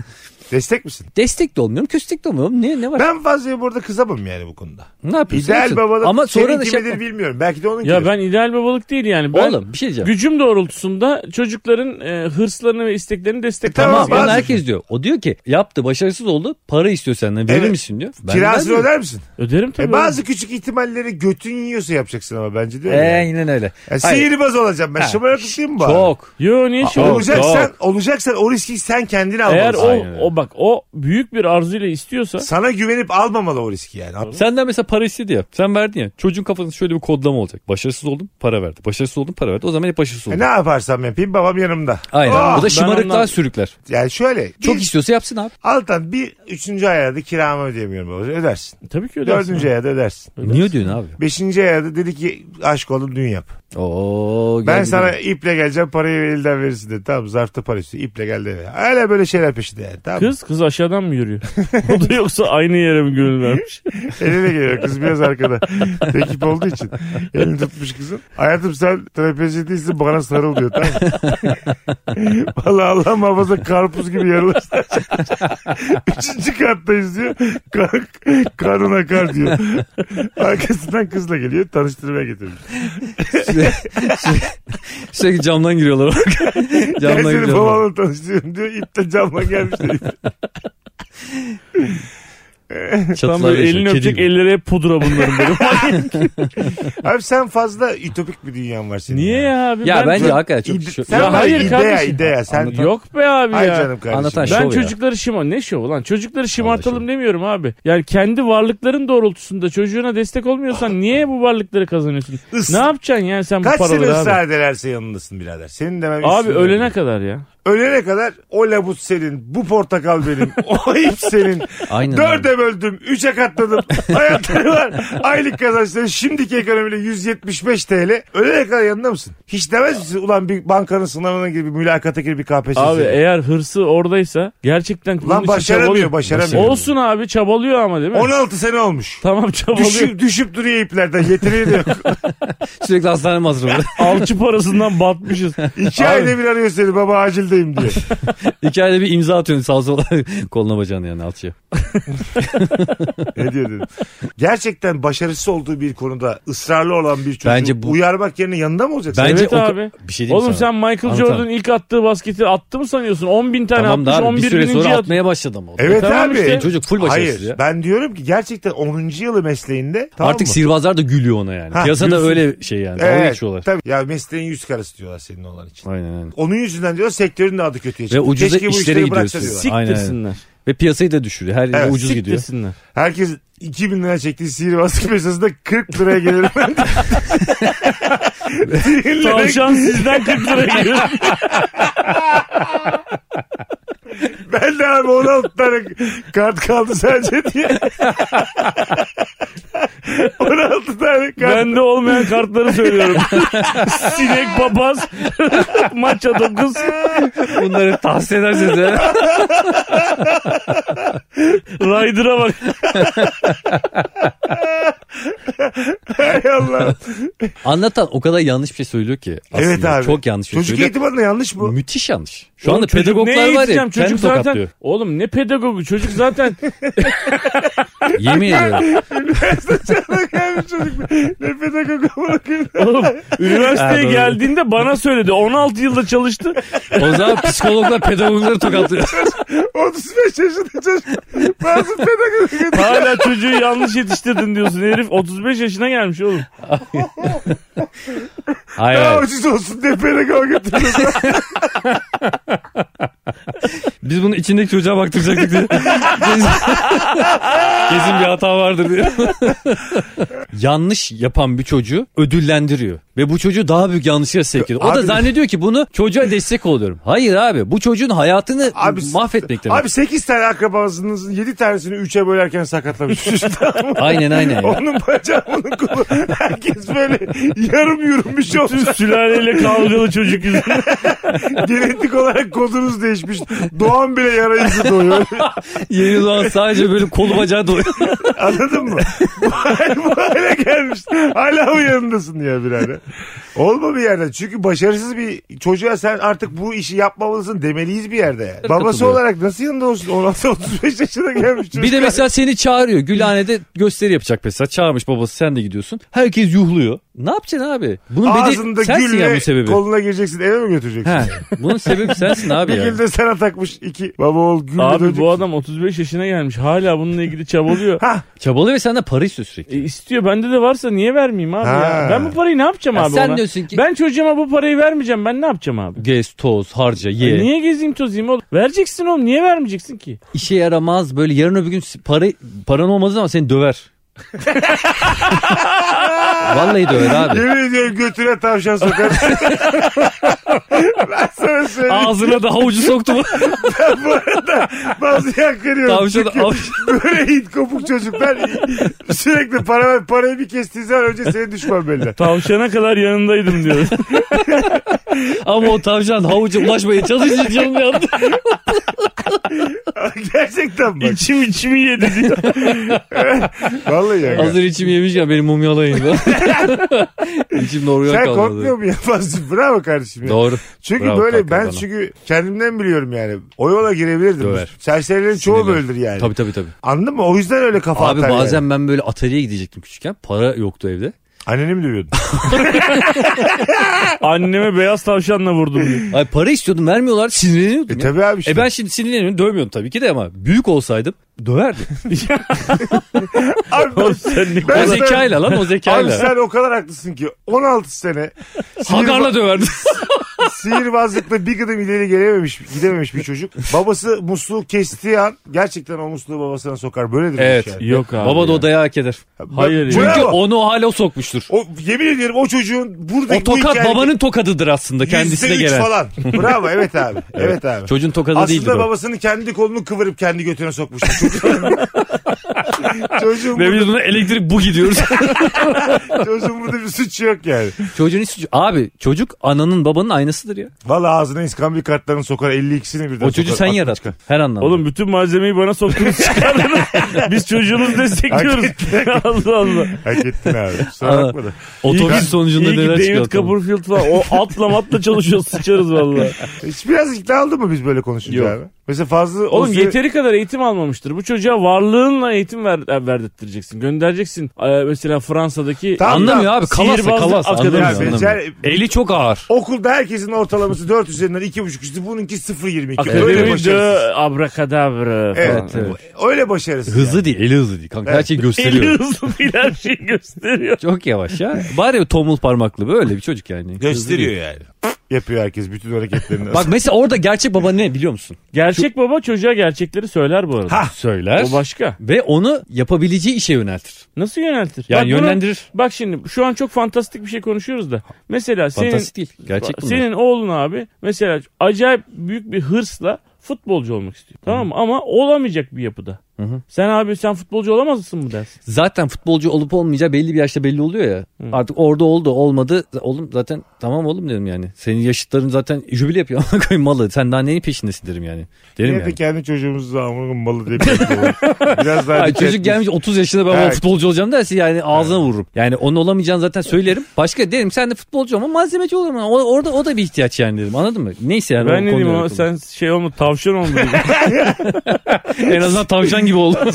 Speaker 1: Destek misin?
Speaker 3: Destek de olmuyorum, köstek de olmuyorum. Ne ne var?
Speaker 1: Ben fazla burada kızamam yani bu konuda.
Speaker 3: ne yapıyorsun?
Speaker 1: İdeal
Speaker 3: Yapsın.
Speaker 1: babalık
Speaker 3: Ama sonra
Speaker 1: senin
Speaker 3: da şey
Speaker 1: kimidir
Speaker 3: yapma.
Speaker 1: bilmiyorum. Belki de onun
Speaker 2: ya ben ideal babalık değil yani. Ben
Speaker 3: Oğlum bir şey diyeceğim.
Speaker 2: gücüm doğrultusunda çocukların e, hırslarını ve isteklerini desteklemem.
Speaker 1: Tamam,
Speaker 3: E, Tamam,
Speaker 1: bazı-
Speaker 3: bana herkes diyor. O diyor ki yaptı, başarısız oldu. Para istiyor senden. Verir
Speaker 1: Evet.
Speaker 3: misin diyor. Ben
Speaker 1: Kirasını
Speaker 3: vermiyorum.
Speaker 1: öder misin?
Speaker 2: Öderim tabii.
Speaker 1: E bazı küçük ihtimalleri götün yiyorsa yapacaksın ama bence diyor.
Speaker 3: Ee,
Speaker 1: yani.
Speaker 3: yine öyle.
Speaker 1: Ya
Speaker 3: Hayır.
Speaker 1: sihirbaz olacağım ben.
Speaker 3: Ha,
Speaker 1: Şımarıklık mı bu? arada?
Speaker 3: Çok.
Speaker 2: Yo niye şey
Speaker 3: Çok,
Speaker 1: Olacaksan, olacaksan o riski sen kendin
Speaker 2: Eğer
Speaker 1: almalısın.
Speaker 2: o,
Speaker 3: Aynen öyle.
Speaker 2: o bak o büyük bir arzuyla istiyorsa
Speaker 1: Sana güvenip almamalı o riski yani.
Speaker 3: Senden mesela para istedi ya. Sen verdin ya. Çocuğun kafasında şöyle bir kodlama olacak. Başarısız oldum, para verdi. Başarısız oldum, para verdi. O zaman hep başarısız
Speaker 1: E
Speaker 3: oldum.
Speaker 1: ne yaparsam yapayım babam yanımda.
Speaker 3: Aynen.
Speaker 1: Oh!
Speaker 3: o da şımarıklığa
Speaker 2: ondan-
Speaker 3: sürükler.
Speaker 1: Yani şöyle.
Speaker 3: Çok
Speaker 1: bir-
Speaker 3: istiyorsa yapsın abi.
Speaker 1: Altan bir üçüncü ayda kiramı ödeyemiyorum. babacığım. Ödersin.
Speaker 2: tabii ki ödersin.
Speaker 1: Dördüncü ayda ödersin.
Speaker 3: Niye diyorsun abi?
Speaker 1: Beşinci ayda dedi ki aşk oğlum dün yap.
Speaker 3: Oo,
Speaker 1: Ben
Speaker 3: geldi
Speaker 1: sana iple geleceğim parayı elden verirsin dedi. Tamam zarfta para istiyor. iple geldi eve. Hala böyle şeyler peşinde yani. Tamam. Kız?
Speaker 2: Kız kız aşağıdan mı yürüyor? o da yoksa aynı yere mi gönül vermiş?
Speaker 1: Eline geliyor kız biraz arkada. Ekip olduğu için. Elini tutmuş kızın. Hayatım sen trapezi değilsin bana sarıl diyor tamam mı? Valla Allah muhafaza karpuz gibi yarılırsa. Üçüncü kattayız diyor. Kan, kanun akar diyor. Arkasından kızla geliyor. Tanıştırmaya getirmiş.
Speaker 3: Sürekli camdan giriyorlar.
Speaker 1: Ben
Speaker 3: camdan
Speaker 1: seni
Speaker 3: giriyorlar.
Speaker 1: babamla tanıştırıyorum diyor. İp de camla gelmiş dedi.
Speaker 2: Tam
Speaker 3: Çatılar
Speaker 2: böyle
Speaker 3: yaşıyor,
Speaker 2: elini
Speaker 3: kedi
Speaker 2: öpecek
Speaker 3: gibi.
Speaker 2: elleri hep pudra bunların böyle.
Speaker 1: Abi sen fazla ütopik bir dünyan var senin.
Speaker 2: Niye ya abi?
Speaker 3: Ya
Speaker 2: ben,
Speaker 3: bence
Speaker 1: Ben-
Speaker 3: hakikaten çok
Speaker 1: İde-
Speaker 3: şu-
Speaker 1: sen
Speaker 2: Ya
Speaker 1: ya
Speaker 2: hayır
Speaker 1: idea
Speaker 2: kardeşim.
Speaker 1: idea sen
Speaker 2: Yok be abi
Speaker 1: Ay
Speaker 2: ya.
Speaker 1: canım kardeşim.
Speaker 3: Anlatan
Speaker 2: Ben
Speaker 3: Şov ya.
Speaker 2: çocukları şıma ne şovu lan çocukları şımartalım
Speaker 3: şov.
Speaker 2: demiyorum abi. Yani kendi varlıkların doğrultusunda çocuğuna destek olmuyorsan niye bu varlıkları kazanıyorsun?
Speaker 1: Is-
Speaker 2: ne yapacaksın yani sen bu
Speaker 1: Kaç sene
Speaker 2: paraları abi?
Speaker 1: ısrar ederlerse yanındasın birader. Senin demem
Speaker 2: Abi
Speaker 1: üstüne
Speaker 2: ölene
Speaker 1: yani.
Speaker 2: kadar ya.
Speaker 1: Ölene kadar o labut senin, bu portakal benim, o ip senin.
Speaker 3: Aynen. abi.
Speaker 1: Dörde böldüm, üçe katladım. Hayatları var. Aylık kazançları şimdiki ekonomiyle 175 TL. Ölene kadar yanında mısın? Hiç demez misin? Ulan bir bankanın sınavına gir, bir mülakata gir, bir KPSS'ye.
Speaker 2: Abi e- eğer hırsı oradaysa gerçekten bunun
Speaker 1: Lan
Speaker 2: için
Speaker 1: başaramıyor,
Speaker 2: çabalıyor.
Speaker 1: başaramıyor.
Speaker 2: Olsun abi çabalıyor ama değil mi?
Speaker 1: 16 sene olmuş.
Speaker 2: Tamam çabalıyor.
Speaker 1: Düşüp, düşüp duruyor iplerden. Yeteneği de yok.
Speaker 3: Sürekli hastane masrafı.
Speaker 2: Alçı parasından batmışız.
Speaker 1: İki ayda bir arıyor seni baba acildeyim diye.
Speaker 3: Hikayede bir imza atıyorsun sağ sola. Koluna bacağına yani alçıya.
Speaker 1: ne diyor dedim. Gerçekten başarısız olduğu bir konuda ısrarlı olan bir çocuğu
Speaker 3: Bence bu-
Speaker 1: uyarmak yerine yanında mı olacaksın?
Speaker 3: Bence
Speaker 2: evet
Speaker 3: o-
Speaker 2: abi.
Speaker 3: Bir şey diyeyim
Speaker 2: Oğlum
Speaker 3: sana.
Speaker 2: sen Michael
Speaker 3: Anlatan.
Speaker 2: Jordan'ın ilk attığı basketi attı mı sanıyorsun? 10 bin tane
Speaker 3: Tamam da
Speaker 2: atmış
Speaker 3: abi,
Speaker 2: 11
Speaker 3: bir süre
Speaker 2: bininci
Speaker 3: sonra
Speaker 2: at-
Speaker 3: atmaya başladım. oldu.
Speaker 1: Evet
Speaker 2: E tamam
Speaker 1: abi.
Speaker 2: işte.
Speaker 3: Çocuk full başarısız
Speaker 1: Hayır
Speaker 3: ya.
Speaker 1: ben diyorum ki gerçekten 10. yılı mesleğinde tamam
Speaker 3: Artık
Speaker 1: mı?
Speaker 3: sihirbazlar da gülüyor ona yani.
Speaker 1: Ha,
Speaker 3: Piyasada
Speaker 1: gülsün.
Speaker 3: öyle şey yani. Dalga
Speaker 1: Evet,
Speaker 3: geçiyorlar.
Speaker 1: tabii. Ya mesleğin yüz karası diyorlar senin olan için.
Speaker 3: Aynen aynen.
Speaker 1: Onun yüzünden diyor sektörün de adı kötüye çıktı.
Speaker 3: Ve ucuza
Speaker 1: Keşke bu
Speaker 3: işlere
Speaker 1: işleri
Speaker 3: gidiyorsun.
Speaker 1: bıraksa diyorlar.
Speaker 3: Sik- Aynen,
Speaker 2: Siktirsinler.
Speaker 3: Ve piyasayı da düşürüyor. Her yere
Speaker 1: Evet,
Speaker 3: ucuz gidiyor.
Speaker 2: Siktirsinler.
Speaker 1: Herkes 2000 lira çektiği sihirbazlık piyasasında 40 liraya gelir. Sinirlenerek
Speaker 2: Tavşan sizden 40 lira giriyor.
Speaker 1: Ben de abi 16 tane kart kaldı sence diye. 16 tane kart.
Speaker 2: Bende olmayan kartları söylüyorum. Sinek papaz. Maça 9.
Speaker 3: Bunları tahsil edersiniz ya.
Speaker 2: Rider'a bak.
Speaker 1: Hay Allah.
Speaker 3: Anlatan o kadar yanlış bir şey söylüyor ki. Aslında.
Speaker 1: Evet abi.
Speaker 3: Çok yanlış bir şey
Speaker 1: Çocuk
Speaker 3: söylüyor.
Speaker 1: eğitim adına yanlış bu.
Speaker 3: Müthiş yanlış. Şu
Speaker 2: Oğlum
Speaker 3: anda
Speaker 2: çocuk
Speaker 3: pedagoglar
Speaker 2: ne
Speaker 3: var ya
Speaker 2: eğiteceğim?
Speaker 3: kendi
Speaker 2: Çocuk zaten.
Speaker 3: tokatlıyor.
Speaker 2: Oğlum ne pedagogu? Çocuk zaten
Speaker 3: Yemin ediyorum.
Speaker 1: Abi çocuk ne pedagog ama bakın.
Speaker 2: Oğlum üniversiteye
Speaker 3: Ha, doğru.
Speaker 2: geldiğinde bana söyledi. 16 yılda çalıştı.
Speaker 3: O zaman psikologlar pedagogları tokatlıyor.
Speaker 1: 35 yaşında çocuk. Bazı pedagog.
Speaker 2: Hala çocuğu yanlış yetiştirdin diyorsun. Herif 35 yaşına gelmiş oğlum.
Speaker 3: Hayır
Speaker 1: Daha
Speaker 3: hayır.
Speaker 1: ucuz olsun diye pedagog götürüyorsun.
Speaker 3: Biz bunun içindeki çocuğa baktıracaktık diye. Kesin- Kesin bir hata vardır diye. Yanlış yapan bir çocuğu ödüllendiriyor. Ve bu çocuğu daha büyük yanlışlara sevk ediyor. O
Speaker 1: Abi-
Speaker 3: da zannediyor ki bunu çocuğa destek oluyorum. Hayır abi bu çocuğun hayatını
Speaker 1: Abi-
Speaker 3: mahvetmek demek.
Speaker 1: Abi 8 tane akrabasının 7 tanesini 3'e bölerken sakatlamış.
Speaker 3: Aynen aynen. ya.
Speaker 1: onun bacağı onun kolu. Herkes böyle yarım yürüm bir şey olmuş.
Speaker 2: Tüm sülaleyle kavgalı çocuk yüzünden.
Speaker 1: Genetik olarak kodunuz değişmiş. Doğan bile yara izi doğuyor.
Speaker 3: Yeni doğan sadece böyle kolu bacağı doyuyor.
Speaker 1: Anladın mı? Bu hal- bu hale gelmiş. Hala o yanındasın ya birader. Olma bir yerde. Çünkü başarısız bir çocuğa sen artık bu işi yapmamalısın demeliyiz bir yerde yani. Babası
Speaker 3: Katılıyorum.
Speaker 1: olarak nasıl yanında olsun? 16-35 yaşına gelmiş çocuk.
Speaker 3: Bir de mesela seni çağırıyor. Gülhane'de gösteri yapacak mesela. Çağırmış babası sen de gidiyorsun. Herkes yuhluyor. Ne yapacaksın abi? Bunun
Speaker 1: Ağzında
Speaker 3: bedeli sensin ya bunun
Speaker 1: gülle
Speaker 3: sebebi.
Speaker 1: koluna gireceksin eve mi götüreceksin?
Speaker 3: He, bunun sebebi sensin abi
Speaker 1: Bir
Speaker 3: ya.
Speaker 1: gül de sana takmış iki. Baba oğul gülle
Speaker 2: Abi
Speaker 1: döneceksin.
Speaker 2: bu adam 35 yaşına gelmiş. Hala bununla ilgili çabalıyor.
Speaker 3: Çabalıyor ve senden para istiyor sürekli.
Speaker 2: E, istiyor. Bende de varsa niye vermeyeyim abi
Speaker 1: Ha.
Speaker 2: ya? Ben bu parayı ne yapacağım
Speaker 3: Ya
Speaker 2: abi
Speaker 3: sen
Speaker 2: ona?
Speaker 3: diyorsun ki-
Speaker 2: Ben çocuğuma bu parayı vermeyeceğim. Ben ne yapacağım abi?
Speaker 3: Gez, toz, harca, ye.
Speaker 2: E, Niye gezeyim tozayım oğlum? Vereceksin oğlum. Niye vermeyeceksin ki?
Speaker 3: İşe yaramaz böyle yarın öbür gün para, paran olmaz zaman seni döver. Vallahi döver abi.
Speaker 1: Yemin ediyorum götüne tavşan sokar. ben sana söyleyeyim.
Speaker 3: Ağzına da havucu soktu.
Speaker 1: Bu arada bazı yakkırıyorum.
Speaker 3: Tavşan avuç.
Speaker 1: Böyle it kopuk çocuklar sürekli para ver parayı bir kestiği zaman önce seni düşman belli.
Speaker 2: Tavşana kadar yanındaydım diyor.
Speaker 3: Ama o tavşan havuca ulaşmaya çalışınca canım yandı.
Speaker 1: Gerçekten bak.
Speaker 2: İçim içimi yedi diyor.
Speaker 1: Vallahi ya.
Speaker 3: Hazır içim yemişken beni mumyalayın. İçim doğru
Speaker 1: Sen
Speaker 3: kalmadı.
Speaker 1: korkmuyor mu yaparsın? Bravo kardeşim. Ya.
Speaker 3: Doğru.
Speaker 1: Çünkü
Speaker 3: Bravo
Speaker 1: böyle
Speaker 3: kanka
Speaker 1: ben
Speaker 3: bana.
Speaker 1: çünkü kendimden biliyorum yani. O yola girebilirdim.
Speaker 3: Döver.
Speaker 1: Serserilerin çoğu
Speaker 3: Sinirler.
Speaker 1: böyledir yani.
Speaker 3: Tabii tabii tabii.
Speaker 1: Anladın mı? O yüzden öyle kafa
Speaker 3: Abi
Speaker 1: atar
Speaker 3: bazen
Speaker 1: yani.
Speaker 3: ben böyle atölyeye gidecektim küçükken. Para yoktu evde.
Speaker 1: Anneni mi dövüyordun?
Speaker 2: Anneme beyaz tavşanla vurdum diyor.
Speaker 3: Ay para istiyordum vermiyorlar sinirleniyordum.
Speaker 1: e
Speaker 3: ya.
Speaker 1: tabii abi işte.
Speaker 3: E ben şimdi sinirleniyorum dövmüyorum tabii ki de ama büyük olsaydım döverdim.
Speaker 1: Abi,
Speaker 2: Oğlum sen ne
Speaker 1: Ben sana-
Speaker 3: o zekayla lan o
Speaker 1: Abi
Speaker 3: zekayla.
Speaker 1: sen o kadar haklısın ki 16 sene
Speaker 3: Hagarla döverdim.
Speaker 1: sihirbazlıkla bir gıdım ileri gelememiş, gidememiş bir çocuk. Babası musluğu kestiği an gerçekten o musluğu babasına sokar. Böyledir bu
Speaker 3: Evet.
Speaker 1: iş yani.
Speaker 2: Yok abi.
Speaker 3: Baba da
Speaker 2: ya.
Speaker 3: o dayağı hak eder.
Speaker 2: Hayır
Speaker 1: Çünkü
Speaker 3: Çünkü
Speaker 1: Bravo.
Speaker 3: onu o hale o sokmuştur.
Speaker 1: O, yemin ediyorum o çocuğun burada
Speaker 3: O tokat babanın tokadıdır aslında kendisine gelen.
Speaker 1: falan. Bravo evet abi. Evet abi.
Speaker 3: Çocuğun tokadı değildir
Speaker 1: Aslında
Speaker 3: o.
Speaker 1: babasının kendi kolunu kıvırıp kendi götüne sokmuştu. çocuğun,
Speaker 3: Ve biz
Speaker 1: burada,
Speaker 3: buna elektrik bu gidiyoruz.
Speaker 1: çocuğun burada bir suçu yok yani.
Speaker 3: Çocuğun hiç suçu- Abi çocuk ananın babanın aynasıdır ya.
Speaker 1: Valla ağzına iskambil kartlarını sokar 52'sini birden
Speaker 3: O çocuğu sen
Speaker 1: sokar.
Speaker 3: yarat. Her anlamda.
Speaker 2: Oğlum bütün malzemeyi bana soktunuz çıkardınız. Biz çocuğunuzu destekliyoruz. Allah Allah.
Speaker 1: Hak ettin abi. Kusura
Speaker 3: Aa.
Speaker 1: bakma da.
Speaker 3: Otopsi sonucunda
Speaker 2: İyi ki
Speaker 3: neler çıkıyor.
Speaker 2: David
Speaker 3: ortama.
Speaker 2: Copperfield falan. O atla matla çalışıyoruz sıçarız valla.
Speaker 1: Hiç biraz ikna oldun mu biz böyle konuşunca
Speaker 2: Yok.
Speaker 1: abi? Mesela fazla...
Speaker 2: Oğlum yeteri kadar eğitim almamıştır. Bu çocuğa varlığınla eğitim ver, e, verdirteceksin. Göndereceksin. Ee, mesela Fransa'daki
Speaker 1: Tamam.
Speaker 3: Anlamıyor abi. Kalasa
Speaker 2: Sihirbazlık
Speaker 3: kalasa.
Speaker 2: akademisi.
Speaker 3: Anlamıyor,
Speaker 1: Yani
Speaker 3: anlamıyor.
Speaker 1: becer-
Speaker 3: Eli çok ağır.
Speaker 1: Okulda herkesin ortalaması 4 üzerinden 2,5 üstü. Bununki 0,22. Öyle
Speaker 2: Akademi
Speaker 1: başarısız.
Speaker 2: de abrakadabra falan.
Speaker 1: Evet. Öyle başarısız.
Speaker 3: Hızlı değil. Eli hızlı değil. Kanka her
Speaker 1: Evet.
Speaker 3: şeyi
Speaker 2: Eli
Speaker 3: gösteriyor.
Speaker 2: hızlı değil her şeyi gösteriyor.
Speaker 3: Çok yavaş ya. Bari tomul parmaklı böyle bir çocuk yani. Hızlı değil.
Speaker 5: yani.
Speaker 1: Yapıyor herkes bütün hareketlerini.
Speaker 3: Bak mesela orada gerçek baba ne biliyor musun?
Speaker 2: Gerçek baba çocuğa gerçekleri söyler bu arada.
Speaker 1: Ha.
Speaker 3: Söyler.
Speaker 2: Ah, O başka.
Speaker 3: Ve onu yapabileceği işe yöneltir.
Speaker 2: Nasıl yöneltir?
Speaker 3: Yani
Speaker 2: Bak bunu-
Speaker 3: yönlendirir.
Speaker 2: bak şimdi şu an çok fantastik bir şey konuşuyoruz da. Mesela senin
Speaker 3: Fantastik şey değil. Gerçek bunlar.
Speaker 2: senin oğlun abi mesela acayip büyük bir hırsla futbolcu olmak istiyor. Tamam mı? Ama olamayacak bir yapıda.
Speaker 3: hı.
Speaker 2: Sen abi sen futbolcu olamazsın mı dersin?
Speaker 3: Zaten futbolcu olup olmayacağı belli bir yaşta belli oluyor ya. Artık orada oldu olmadı. Oğlum zaten tamam oğlum dedim yani. Senin yaşıtların zaten jübile yapıyor. Amına koyayım malı. Sen daha neyin peşindesin derim yani. Derim
Speaker 1: Yine de
Speaker 3: yani.
Speaker 1: kendi çocuğumuzu da amına malı diye bir şey var. Biraz daha
Speaker 3: Ay,
Speaker 1: dikkat
Speaker 3: çocuk gelmiş 30 yaşında ben
Speaker 1: Evet.
Speaker 3: baba futbolcu olacağım derse yani ağzına vururum. Yani onun olamayacağını zaten söylerim. Başka derim sen de futbolcu ama malzemeci olurum. O, orada o da bir ihtiyaç yani dedim. Anladın mı? Neyse yani. o
Speaker 2: ben ne diyeyim
Speaker 3: konuya
Speaker 2: ama
Speaker 3: bakalım.
Speaker 2: sen şey olma tavşan olma. diyeyim.
Speaker 3: En azından tavşan gibi oldun.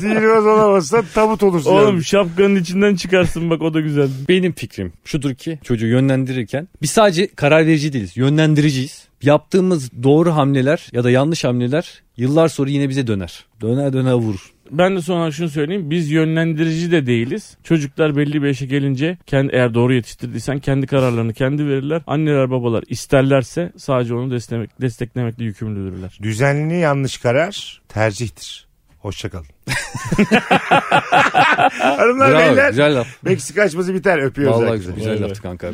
Speaker 1: Sihirbaz olamazsan tabut olursun.
Speaker 2: Oğlum
Speaker 1: yani.
Speaker 2: şapkanın içinden çıkarsın bak o da güzel.
Speaker 3: Benim fikrim şudur ki çocuğu yönlendirirken biz sadece karar verici değiliz. Yönlendiriciyiz. Yaptığımız doğru hamleler ya da yanlış hamleler yıllar sonra yine bize döner. Döner döner vurur.
Speaker 2: Ben de son olarak şunu söyleyeyim. Biz yönlendirici de değiliz. Çocuklar belli bir yaşa gelince kendi, eğer doğru yetiştirdiysen kendi kararlarını kendi verirler. Anneler babalar isterlerse sadece onu desteklemek, desteklemekle yükümlüdürler.
Speaker 1: Düzenli yanlış karar tercihtir. Hoşçakalın. Hanımlar
Speaker 3: Bravo,
Speaker 1: beyler
Speaker 3: güzel laf.
Speaker 1: Meksika açması biter öpüyoruz
Speaker 3: Vallahi
Speaker 1: herkese.
Speaker 3: güzel, güzel laftı kanka.